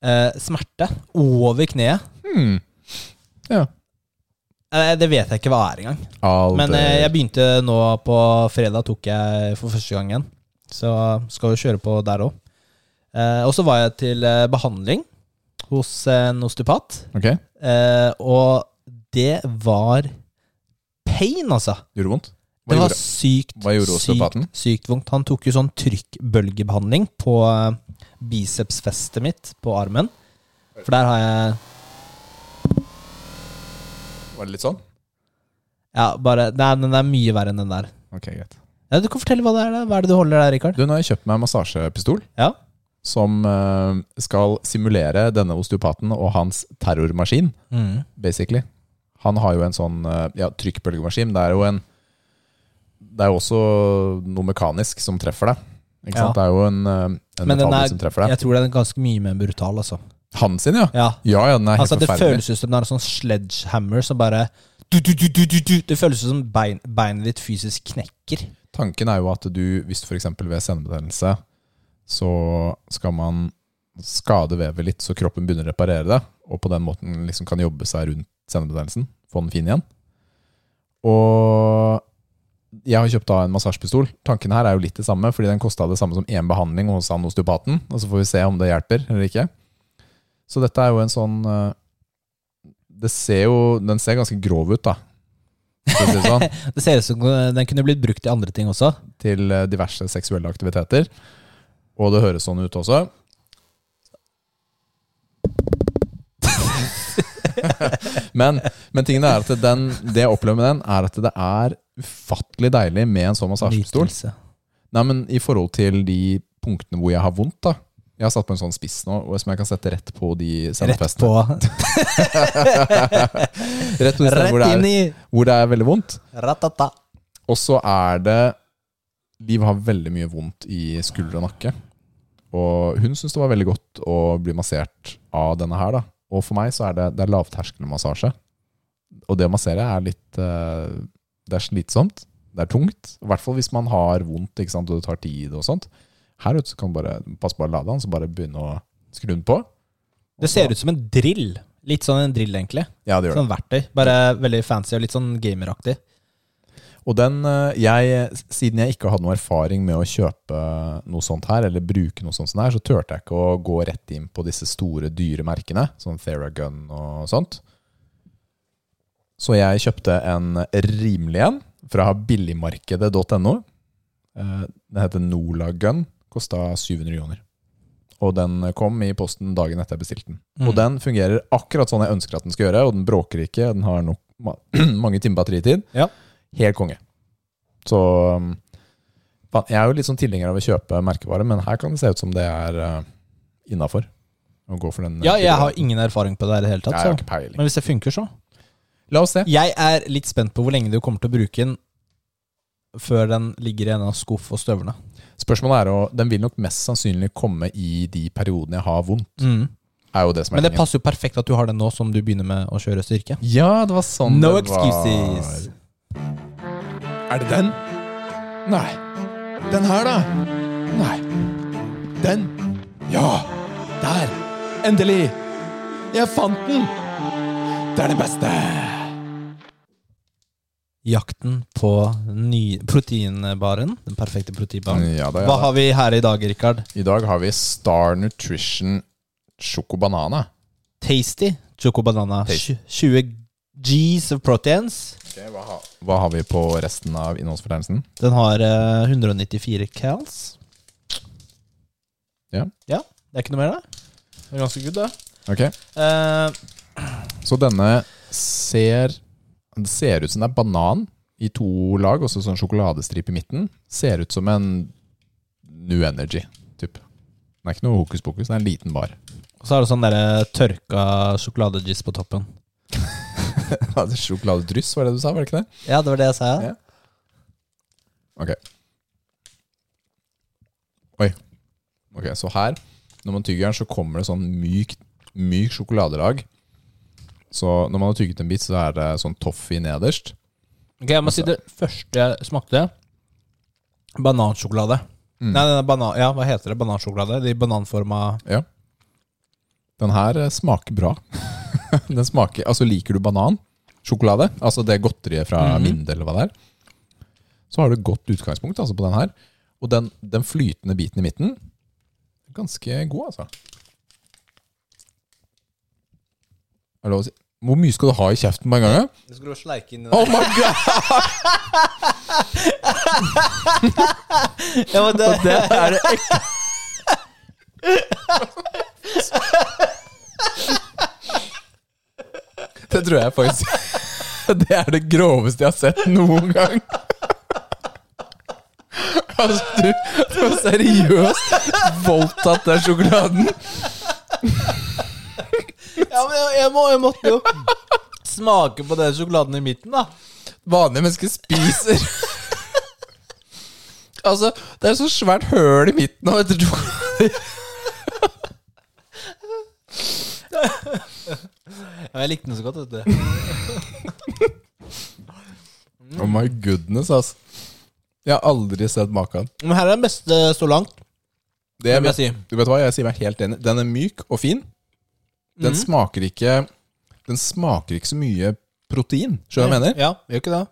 [SPEAKER 1] eh, smerte over kneet.
[SPEAKER 2] Hmm. Ja.
[SPEAKER 1] Eh, det vet jeg ikke hva er engang. Men eh, jeg begynte nå på fredag, tok jeg for første gang igjen. Så skal jo kjøre på der òg. Eh, og så var jeg til eh, behandling hos en osteopat,
[SPEAKER 2] Ok,
[SPEAKER 1] eh, og det var pain, altså.
[SPEAKER 2] Gjorde vondt? Hva
[SPEAKER 1] Det var
[SPEAKER 2] gjorde-
[SPEAKER 1] sykt,
[SPEAKER 2] hva gjorde
[SPEAKER 1] sykt,
[SPEAKER 2] osteopaten?
[SPEAKER 1] sykt vondt. Han tok jo sånn trykkbølgebehandling på eh, bicepsfestet mitt på armen. For der har jeg
[SPEAKER 2] Var det litt sånn?
[SPEAKER 1] Ja, bare Nei, den er mye verre enn den der.
[SPEAKER 2] Ok, greit.
[SPEAKER 1] Ja, du kan fortelle hva det er, da. Hva er det du holder der, Rikard?
[SPEAKER 2] Du, nå har jeg kjøpt meg en massasjepistol
[SPEAKER 1] Ja.
[SPEAKER 2] som eh, skal simulere denne osteopaten og hans terrormaskin,
[SPEAKER 1] Mm.
[SPEAKER 2] basically. Han har jo en sånn eh, ja, trykkbølgemaskin. Det er jo en Det er jo også noe mekanisk som treffer deg. Ikke
[SPEAKER 1] Ja.
[SPEAKER 2] sant? Det er jo en, eh, en
[SPEAKER 1] Men den
[SPEAKER 2] metallbit
[SPEAKER 1] er-
[SPEAKER 2] som treffer deg.
[SPEAKER 1] Jeg tror den er ganske mye mer brutal, altså.
[SPEAKER 2] Han sin, ja.
[SPEAKER 1] Ja.
[SPEAKER 2] Ja, ja, den er helt
[SPEAKER 1] Altså, det
[SPEAKER 2] forferdelig.
[SPEAKER 1] føles ut som den har en sånn sledgehammer som bare du, du, du, du, du, du. Det føles ut som bein, beinet ditt fysisk knekker.
[SPEAKER 2] Tanken er jo at du, hvis du f.eks. ved senebetennelse, så skal man skade vevet litt, så kroppen begynner å reparere det, og på den måten liksom kan jobbe seg rundt senebetennelsen, få den fin igjen. Og jeg har kjøpt da en massasjepistol. Tanken her er jo litt det samme, fordi den kosta det samme som én behandling hos han osteopaten, og så får vi se om det hjelper eller ikke. Så dette er jo en sånn eh, det ser jo, Den ser ganske grov ut, da. For å si det sånn
[SPEAKER 1] Det ser ut som den kunne blitt brukt til andre ting også.
[SPEAKER 2] til eh, diverse seksuelle aktiviteter. Og det høres sånn ut også. men, men tingen er at den, det jeg opplever med den, er at det er ufattelig deilig med en sånn massasjepistol.
[SPEAKER 1] Nytelse.
[SPEAKER 2] Nei, men I forhold til de punktene hvor jeg har vondt, da. Jeg har satt på en sånn spiss nå og som jeg kan sette rett på de
[SPEAKER 1] Rett
[SPEAKER 2] sendefestene.
[SPEAKER 1] på.
[SPEAKER 2] Rett, rett, på de stedene hvor,
[SPEAKER 1] Rett inn
[SPEAKER 2] det er,
[SPEAKER 1] i
[SPEAKER 2] hvor det er veldig vondt.
[SPEAKER 1] ratata.
[SPEAKER 2] Og så er det Liv har veldig mye vondt i skulder og nakke. Og hun syns det var veldig godt å bli massert av denne her. da. Og for meg så er det, det er lavterskelmassasje. Og det å massere er litt eh, Det er slitsomt. Det er tungt. I hvert fall hvis man har vondt ikke sant, og det tar tid og sånt. Her ute så kan du bare passe på å lade den, så bare begynne å skru den på.
[SPEAKER 1] Det ser ut som en drill. Litt sånn en drill, egentlig.
[SPEAKER 2] Ja, det gjør det.
[SPEAKER 1] Sånn verktøy. Bare veldig fancy og litt sånn gameraktig.
[SPEAKER 2] Og den, eh, jeg, siden jeg ikke hadde noe erfaring med å kjøpe noe sånt her, eller bruke noe sånt sånn her, så turte jeg ikke å gå rett inn på disse store, dyre merkene, sånn Theragun og sånt. Så jeg kjøpte en rimelig en fra billigmarkedet.no. Eh, Den heter Nola Gun, kosta 700 kroner. Og den kom i posten dagen etter jeg bestilte den.
[SPEAKER 1] Mm.
[SPEAKER 2] Og den fungerer akkurat sånn jeg ønsker at den skal gjøre, og den bråker ikke, den har nok, ma- mange timer batteritid.
[SPEAKER 1] Ja.
[SPEAKER 2] Helt konge. Så um, faen, jeg er jo litt sånn tilhenger av å kjøpe merkevare, men her kan det se ut som det er uh, innafor. Å gå for den. uh,
[SPEAKER 1] Ja, jeg har sånn. ingen erfaring på det her i det hele
[SPEAKER 2] Jeg har
[SPEAKER 1] tatt,
[SPEAKER 2] ikke
[SPEAKER 1] så.
[SPEAKER 2] peiling.
[SPEAKER 1] Men hvis det funker, så.
[SPEAKER 2] La oss se.
[SPEAKER 1] Jeg er litt spent på hvor lenge du kommer til å bruke den før den ligger i en av skuff og støvlene.
[SPEAKER 2] Spørsmålet er jo Den vil nok mest sannsynlig komme i de periodene jeg har vondt. Er jo det
[SPEAKER 1] Mm.
[SPEAKER 2] som er
[SPEAKER 1] Men det
[SPEAKER 2] tingen.
[SPEAKER 1] passer jo perfekt at du har den nå som du begynner med å kjøre styrke.
[SPEAKER 2] Ja, det var sånn
[SPEAKER 1] No
[SPEAKER 2] det var.
[SPEAKER 1] excuses.
[SPEAKER 2] Er det den? Nei. Den her, da? Nei. Den? Ja! Der! Endelig! Jeg fant den! Det er det beste!
[SPEAKER 1] Jakten på ny proteinbaren. Den perfekte proteinbaren.
[SPEAKER 2] Ja, da, ja,
[SPEAKER 1] Hva
[SPEAKER 2] da.
[SPEAKER 1] har vi her i dag, Rikard?
[SPEAKER 2] I dag har vi Star Nutrition sjokobanana.
[SPEAKER 1] Tasty choco banana.
[SPEAKER 2] Tasty.
[SPEAKER 1] 20 G's of proteins.
[SPEAKER 2] hva, har... hva har vi på resten av innholdsfortegnelsen?
[SPEAKER 1] Den har eh, 194 cals.
[SPEAKER 2] Ja.
[SPEAKER 1] Ja, det er ikke noe mer, det. Det er ganske good, det.
[SPEAKER 2] Ok.
[SPEAKER 1] Eh,
[SPEAKER 2] Så denne ser Det ser ut som det er banan i to lag, og så sånn sjokoladestripe i midten. Ser ut som en New Energy, typ. Den er ikke noe hokus pokus, det er en liten bar.
[SPEAKER 1] og så er det sånn derre tørka sjokoladejizz på toppen.
[SPEAKER 2] Sjokoladedryss, var det du sa? var det ikke det?
[SPEAKER 1] Ja, det var det jeg sa.
[SPEAKER 2] Ja. Ok. Oi, Ok, Så her, når man tygger den, så kommer det sånn myk, myk sjokoladelag. Så når man har tygget en bit, så er det sånn toffee nederst.
[SPEAKER 1] Ok, jeg må si det første jeg smakte Banansjokolade Nei, den er banan, ja, hva heter det? Banansjokolade? De bananforma
[SPEAKER 2] Ja. Den her eh, smaker bra. den smaker, altså Liker du banan? Sjokolade? Altså det godteriet fra Minde, eller hva det er. Så har du et godt utgangspunkt altså, på den her. Og den, den flytende biten i midten Ganske god, altså. Er det lov å si? Hvor mye skal du ha i kjeften på en gang? ja?
[SPEAKER 1] Det skulle sleike inn i
[SPEAKER 2] Oh my god!
[SPEAKER 1] ja, men det,
[SPEAKER 2] Det er det ekte Det tror jeg faktisk Det er det groveste jeg har sett noen gang. Altså, du, du har seriøst voldtatt den sjokoladen.
[SPEAKER 1] ja, men jeg, jeg, må, jeg måtte jo smake på den sjokoladen i midten, da.
[SPEAKER 2] Vanlige mennesker spiser Altså, det er så svært høl i midten av etter sjokolade.
[SPEAKER 1] Ja, jeg likte den så godt, vet du.
[SPEAKER 2] Oh my goodness, ass. Jeg har aldri sett maken.
[SPEAKER 1] Men her er den beste så langt.
[SPEAKER 2] Det
[SPEAKER 1] Det vil jeg si.
[SPEAKER 2] Du vet hva, jeg sier meg helt enig. Den er myk og fin. Den smaker ikke Den smaker ikke så mye protein. Skjønner du hva jeg mener?
[SPEAKER 1] Ja, gjør ikke det.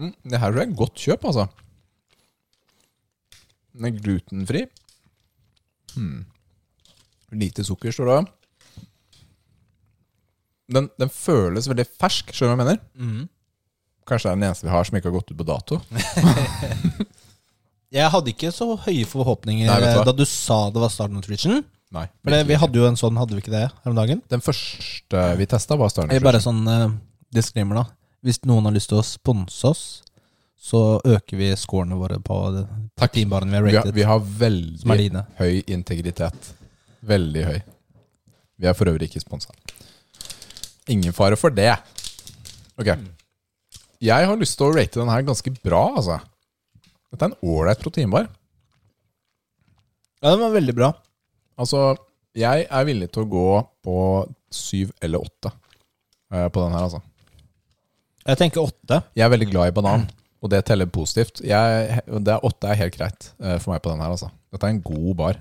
[SPEAKER 2] Mm, det her tror jeg er et godt kjøp, altså. Den er glutenfri. Hmm. Lite sukker, står det. Den, den føles veldig fersk, skjønner du hva jeg mener?
[SPEAKER 1] Mm.
[SPEAKER 2] Kanskje det er den eneste vi har som ikke har gått ut på dato.
[SPEAKER 1] Jeg hadde ikke så høye forhåpninger eh,
[SPEAKER 2] Nei, vet du hva?
[SPEAKER 1] da du sa det var Star Nutrition.
[SPEAKER 2] Nei.
[SPEAKER 1] For det, vi hadde jo en sånn, hadde vi ikke det her om dagen?
[SPEAKER 2] Den første vi testa, var Star
[SPEAKER 1] Jeg bare sånn eh, disclaimer, da. Hvis noen har lyst til å sponse oss, så øker vi scorene våre på proteinbaren vi har
[SPEAKER 2] Vi har,
[SPEAKER 1] rated.
[SPEAKER 2] vi har
[SPEAKER 1] Som er
[SPEAKER 2] veldig
[SPEAKER 1] dine.
[SPEAKER 2] høy integritet. Veldig høy. Vi er for øvrig ikke sponsa. Ingen fare for det. Ok. Jeg har lyst til å rate den her ganske bra, altså. Dette er en ålreit proteinbar.
[SPEAKER 1] Ja, den var veldig bra.
[SPEAKER 2] Altså, jeg er villig til å gå på syv eller åtte eh, på den her, altså.
[SPEAKER 1] Jeg tenker åtte.
[SPEAKER 2] Jeg er veldig glad i banan, og det teller positivt. Jeg, det er åtte er helt greit eh, for meg på den her, altså. Dette er en god bar.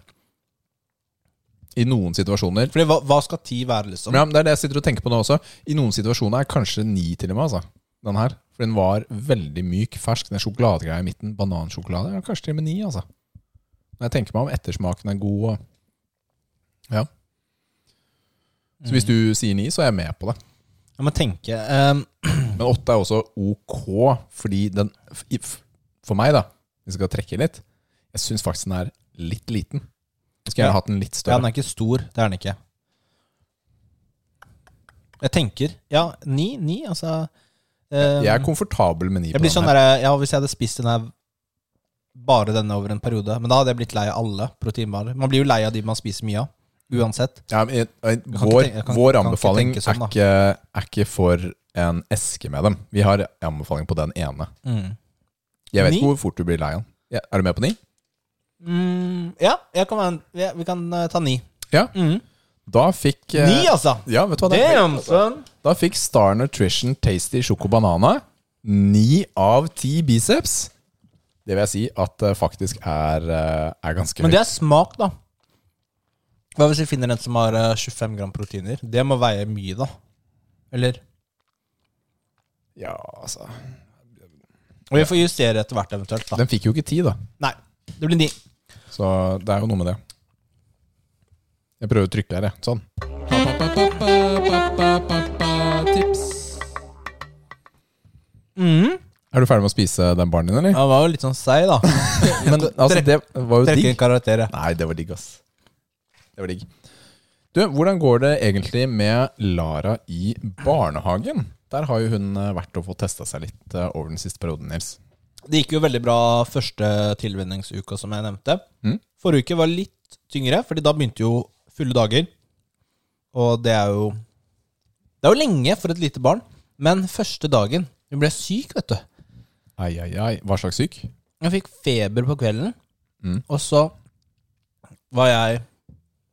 [SPEAKER 2] I noen situasjoner
[SPEAKER 1] Fordi hva, hva skal ti være, liksom?
[SPEAKER 2] Ja, men Det er det jeg sitter og tenker på nå også. I noen situasjoner er kanskje ni til og med. altså Den her For den var veldig myk, fersk. Den sjokoladegreia i midten, banansjokolade, ja, kanskje til og med ni. altså Når jeg tenker meg om, ettersmaken er god og Ja. Så hvis
[SPEAKER 1] Mm.
[SPEAKER 2] du sier ni, så er jeg med på det.
[SPEAKER 1] Jeg må tenke. ehm,
[SPEAKER 2] Men åtte er også ok, fordi den i- f- For meg, da, hvis jeg skal trekke litt, jeg syns faktisk den er litt liten. Jeg skulle
[SPEAKER 1] Ja.
[SPEAKER 2] gjerne hatt den litt
[SPEAKER 1] ja, den
[SPEAKER 2] større.
[SPEAKER 1] er ikke stor. Det er den ikke. Jeg tenker Ja, ni. Ni, altså. ehm,
[SPEAKER 2] jeg er komfortabel med ni.
[SPEAKER 1] jeg
[SPEAKER 2] på
[SPEAKER 1] blir
[SPEAKER 2] den
[SPEAKER 1] sånn
[SPEAKER 2] her.
[SPEAKER 1] der, ja, Hvis jeg hadde spist den her bare denne over en periode Men da hadde jeg blitt lei av alle proteinbarer. Man blir jo lei av de man spiser mye av. Uansett.
[SPEAKER 2] Ja, men, jeg- jeg-
[SPEAKER 1] kan ikke
[SPEAKER 2] vår
[SPEAKER 1] tenke- jeg kan-
[SPEAKER 2] vår
[SPEAKER 1] kan ikke
[SPEAKER 2] anbefaling
[SPEAKER 1] tenke sånn, da.
[SPEAKER 2] er, ikke, er ikke for en eske med dem. Vi har anbefaling på den ene. Jeg
[SPEAKER 1] Mm.
[SPEAKER 2] vet
[SPEAKER 1] Ni?
[SPEAKER 2] ikke hvor fort du blir lei av den. Ja, er du med på ni?
[SPEAKER 1] Mm, ja, jeg kan være en, ja, vi kan eh, ta ni.
[SPEAKER 2] Ja. Da fikk eh,
[SPEAKER 1] Mm. Ni, altså!
[SPEAKER 2] Ja, vet du hva det er?
[SPEAKER 1] Damn, son!
[SPEAKER 2] Da fikk Star Nutrition Tasty Choco Banana ni av ti biceps. Det vil jeg si at eh, faktisk er, eh, er ganske
[SPEAKER 1] Men det
[SPEAKER 2] høyt.
[SPEAKER 1] er smak, da. Hva hvis vi finner en som har eh, 25 gram proteiner? Det må veie mye, da. Eller?
[SPEAKER 2] Ja, altså
[SPEAKER 1] Og vi får justere etter hvert, eventuelt. da
[SPEAKER 2] Den fikk jo ikke ti, da.
[SPEAKER 1] Nei, det blir ni.
[SPEAKER 2] Så det er jo noe med det. Jeg prøver å trykke her, jeg. Sånn.
[SPEAKER 1] Mm.
[SPEAKER 2] Er du ferdig med å spise den baren din, eller?
[SPEAKER 1] Han var jo litt sånn seig, da.
[SPEAKER 2] Men altså, det var jo
[SPEAKER 1] Trekker en
[SPEAKER 2] digg.
[SPEAKER 1] karakter, jeg.
[SPEAKER 2] Nei, det var digg, ass. Det var digg. Du, hvordan går det egentlig med Lara i barnehagen? Der har jo hun eh, vært og fått testa seg litt eh, over den siste perioden, Nils.
[SPEAKER 1] Det gikk jo veldig bra første tilvenningsuka, som jeg nevnte.
[SPEAKER 2] Mm.
[SPEAKER 1] Forrige uke var litt tyngre, fordi da begynte jo fulle dager. Og det er jo Det er jo lenge for et lite barn. Men første dagen Hun ble syk, vet du.
[SPEAKER 2] Ai, ai, ai. Hva slags syk?
[SPEAKER 1] Hun fikk feber på kvelden.
[SPEAKER 2] Mm.
[SPEAKER 1] Og så var jeg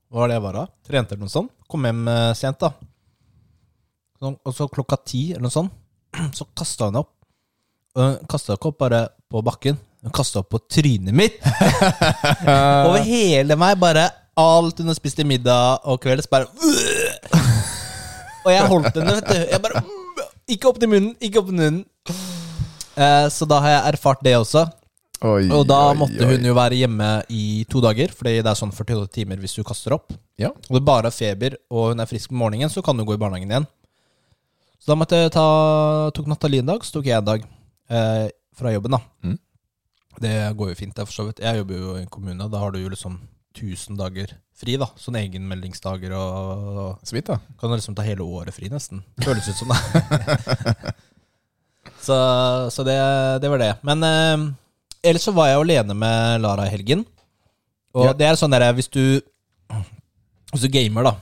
[SPEAKER 1] Hva var det jeg var da? Trente eller noe sånt. Kom hjem eh, sent, da. Sånn, Og så klokka ti eller noe sånt, så kasta hun opp. Kasta ikke opp bare på bakken, hun kasta opp på trynet mitt. Over hele meg, bare alt hun har spist til middag og kvelds, bare Og jeg holdt henne, vet du. Jeg bare mm, Ikke opp til munnen, ikke opp til munnen. Eh, Så da har jeg erfart det også.
[SPEAKER 2] Oi,
[SPEAKER 1] Og da
[SPEAKER 2] Mm. oi,
[SPEAKER 1] måtte
[SPEAKER 2] oi.
[SPEAKER 1] hun jo være hjemme i to dager, fordi det er sånn 48 timer hvis du kaster opp.
[SPEAKER 2] Ja.
[SPEAKER 1] Og det bare er feber, og hun er frisk på morgenen, så kan du gå i barnehagen igjen. Så da måtte jeg ta, tok Nathalie en dag, så tok jeg en dag eh, fra jobben, da.
[SPEAKER 2] Mm.
[SPEAKER 1] Det går jo fint, det, for så vidt. Jeg jobber jo i en kommune, da har du jo liksom 1000 dager fri, da. Sånn egenmeldingsdager og, og
[SPEAKER 2] Så vidt, da.
[SPEAKER 1] kan du liksom ta hele året fri, nesten. Føles ut som det. så så det, det var det. Men eh, ellers så var jeg alene med Lara i helgen. Og
[SPEAKER 2] Ja.
[SPEAKER 1] det er sånn der hvis du Hvis du gamer, da,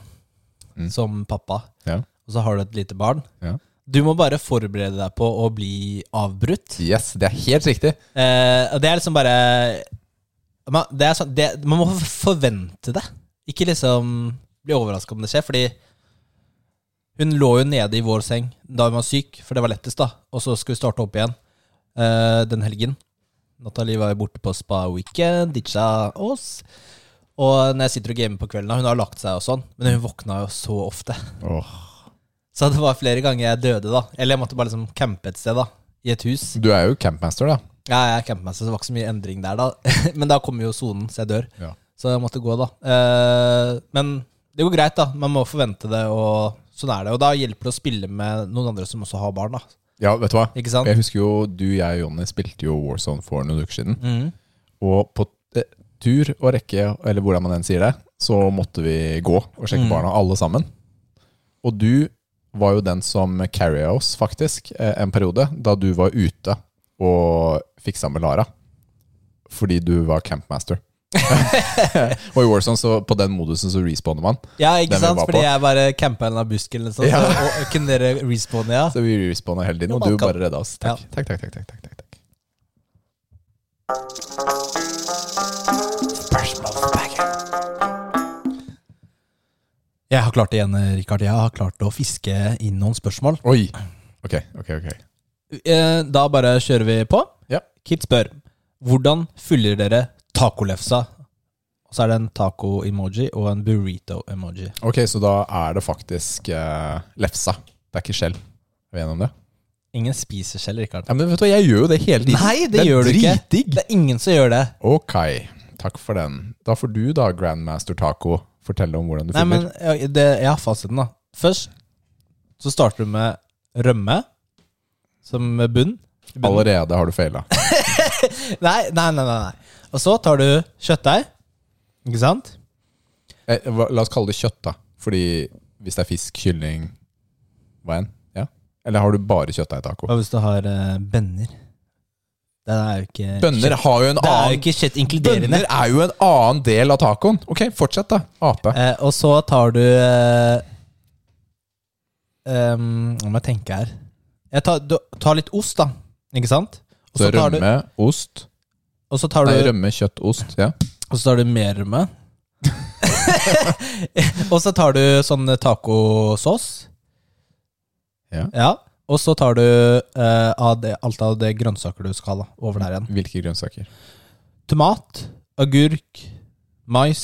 [SPEAKER 1] som pappa,
[SPEAKER 2] Mm. Ja.
[SPEAKER 1] og så har du et lite barn
[SPEAKER 2] Ja.
[SPEAKER 1] Du må bare forberede deg på å bli avbrutt.
[SPEAKER 2] Yes, det er helt riktig.
[SPEAKER 1] Eh, og det er liksom bare man, det er sånn, det, man må forvente det. Ikke liksom bli overraska om det skjer, fordi hun lå jo nede i vår seng da hun var syk, for det var lettest, da. Og så skulle vi starte opp igjen eh, den helgen. Nathalie var jo borte på spa weekend, ditcha oss. Og når jeg sitter og gamer på kvelden, da, hun har lagt seg og sånn, men hun våkna jo så ofte. Så det var flere ganger jeg døde, da. Eller jeg måtte bare liksom campe et sted, da. I et hus.
[SPEAKER 2] Du er jo campmaster, da.
[SPEAKER 1] Ja, jeg camper meg, så det var ikke så mye endring der da. Men da kommer jo sonen, så jeg dør.
[SPEAKER 2] Ja.
[SPEAKER 1] Så jeg måtte gå da. Eh, men det går greit da, man må forvente det, og sånn er det. Og da hjelper det å spille med noen andre som også har barn da.
[SPEAKER 2] vet du hva?
[SPEAKER 1] Ikke sant?
[SPEAKER 2] Jeg husker jo du, jeg og Jonny spilte jo Warzone for noen uker siden.
[SPEAKER 1] Mhm.
[SPEAKER 2] Og på eh, tur og rekke, eller hvordan man enn sier det, så måtte vi gå og
[SPEAKER 1] Mm.
[SPEAKER 2] sjekke barna, alle sammen. Og du var jo den som carria oss, faktisk, eh, en periode, da du var ute og fiksa med Lara. Fordi du var campmaster. og i Warzone, så på den modusen, så respawner man.
[SPEAKER 1] Ja, ikke
[SPEAKER 2] Den vi
[SPEAKER 1] sant?
[SPEAKER 2] var på.
[SPEAKER 1] Fordi jeg bare camper en av busken eller sånn,
[SPEAKER 2] Ja.
[SPEAKER 1] så, og, og kunne dere respawne, ja.
[SPEAKER 2] Så vi respawna hele tiden,
[SPEAKER 1] Jo,
[SPEAKER 2] og
[SPEAKER 1] man
[SPEAKER 2] du
[SPEAKER 1] kan-
[SPEAKER 2] bare redda oss. Takk.
[SPEAKER 1] Ja.
[SPEAKER 2] Takk, takk, takk, takk, takk, takk, takk.
[SPEAKER 1] Jeg har klart det igjen, Rikard. Jeg har klart å fiske inn noen spørsmål.
[SPEAKER 2] Oi! Ok, ok, ok.
[SPEAKER 1] Eh, Da bare kjører vi på.
[SPEAKER 2] Ja.
[SPEAKER 1] Kit spør Hvordan fyller dere tacolefsa? Og så er det en taco-emoji og en burrito-emoji.
[SPEAKER 2] Ok, så da er det faktisk eh, lefsa. Det er ikke skjell. Er vi enige om det?
[SPEAKER 1] Ingen spiser skjell, Rikard.
[SPEAKER 2] Ja, men vet du hva, jeg gjør jo det hele tiden.
[SPEAKER 1] Nei, det, gjør du ikke.
[SPEAKER 2] Det er dritdigg.
[SPEAKER 1] Det er ingen som gjør det.
[SPEAKER 2] Ok, takk for den. Da får du da, Grandmaster Taco, fortelle om hvordan du
[SPEAKER 1] Nei, men
[SPEAKER 2] fyller.
[SPEAKER 1] jeg, det, jeg har fasiten, da. Først så starter du med rømme som bunn. bunn.
[SPEAKER 2] Allerede har du feila.
[SPEAKER 1] Nei, nei, nei, nei, nei. Og så tar du kjøttdeig. Ikke sant?
[SPEAKER 2] Eh, hva- La oss kalle det kjøtt, da. Fordi hvis det er fisk, kylling Hva enn? Ja? Eller har du bare kjøttdeigtaco?
[SPEAKER 1] Hva hvis du har eh, bønner? Det er jo ikke
[SPEAKER 2] Bønner har jo en
[SPEAKER 1] Det er jo
[SPEAKER 2] annen
[SPEAKER 1] ikke kjøtt inkluderende.
[SPEAKER 2] Bønner er jo en annen del av tacoen. Ok, fortsett, da. Ape.
[SPEAKER 1] Eh, og så tar du eh, em, Nå må jeg tenke her. Jeg tar, du tar litt ost, da. Ikke sant? Og så
[SPEAKER 2] Så
[SPEAKER 1] tar du,
[SPEAKER 2] rømme, ost.
[SPEAKER 1] og så tar
[SPEAKER 2] Nei,
[SPEAKER 1] du,
[SPEAKER 2] rømme, kjøtt, ost. Ja.
[SPEAKER 1] og så tar du mer rømme. og så tar du sånn tacosaus.
[SPEAKER 2] Ja.
[SPEAKER 1] Og så tar du eh, av det, alt av det grønnsaker du skal ha over der igjen.
[SPEAKER 2] Hvilke grønnsaker?
[SPEAKER 1] Tomat, agurk, mais.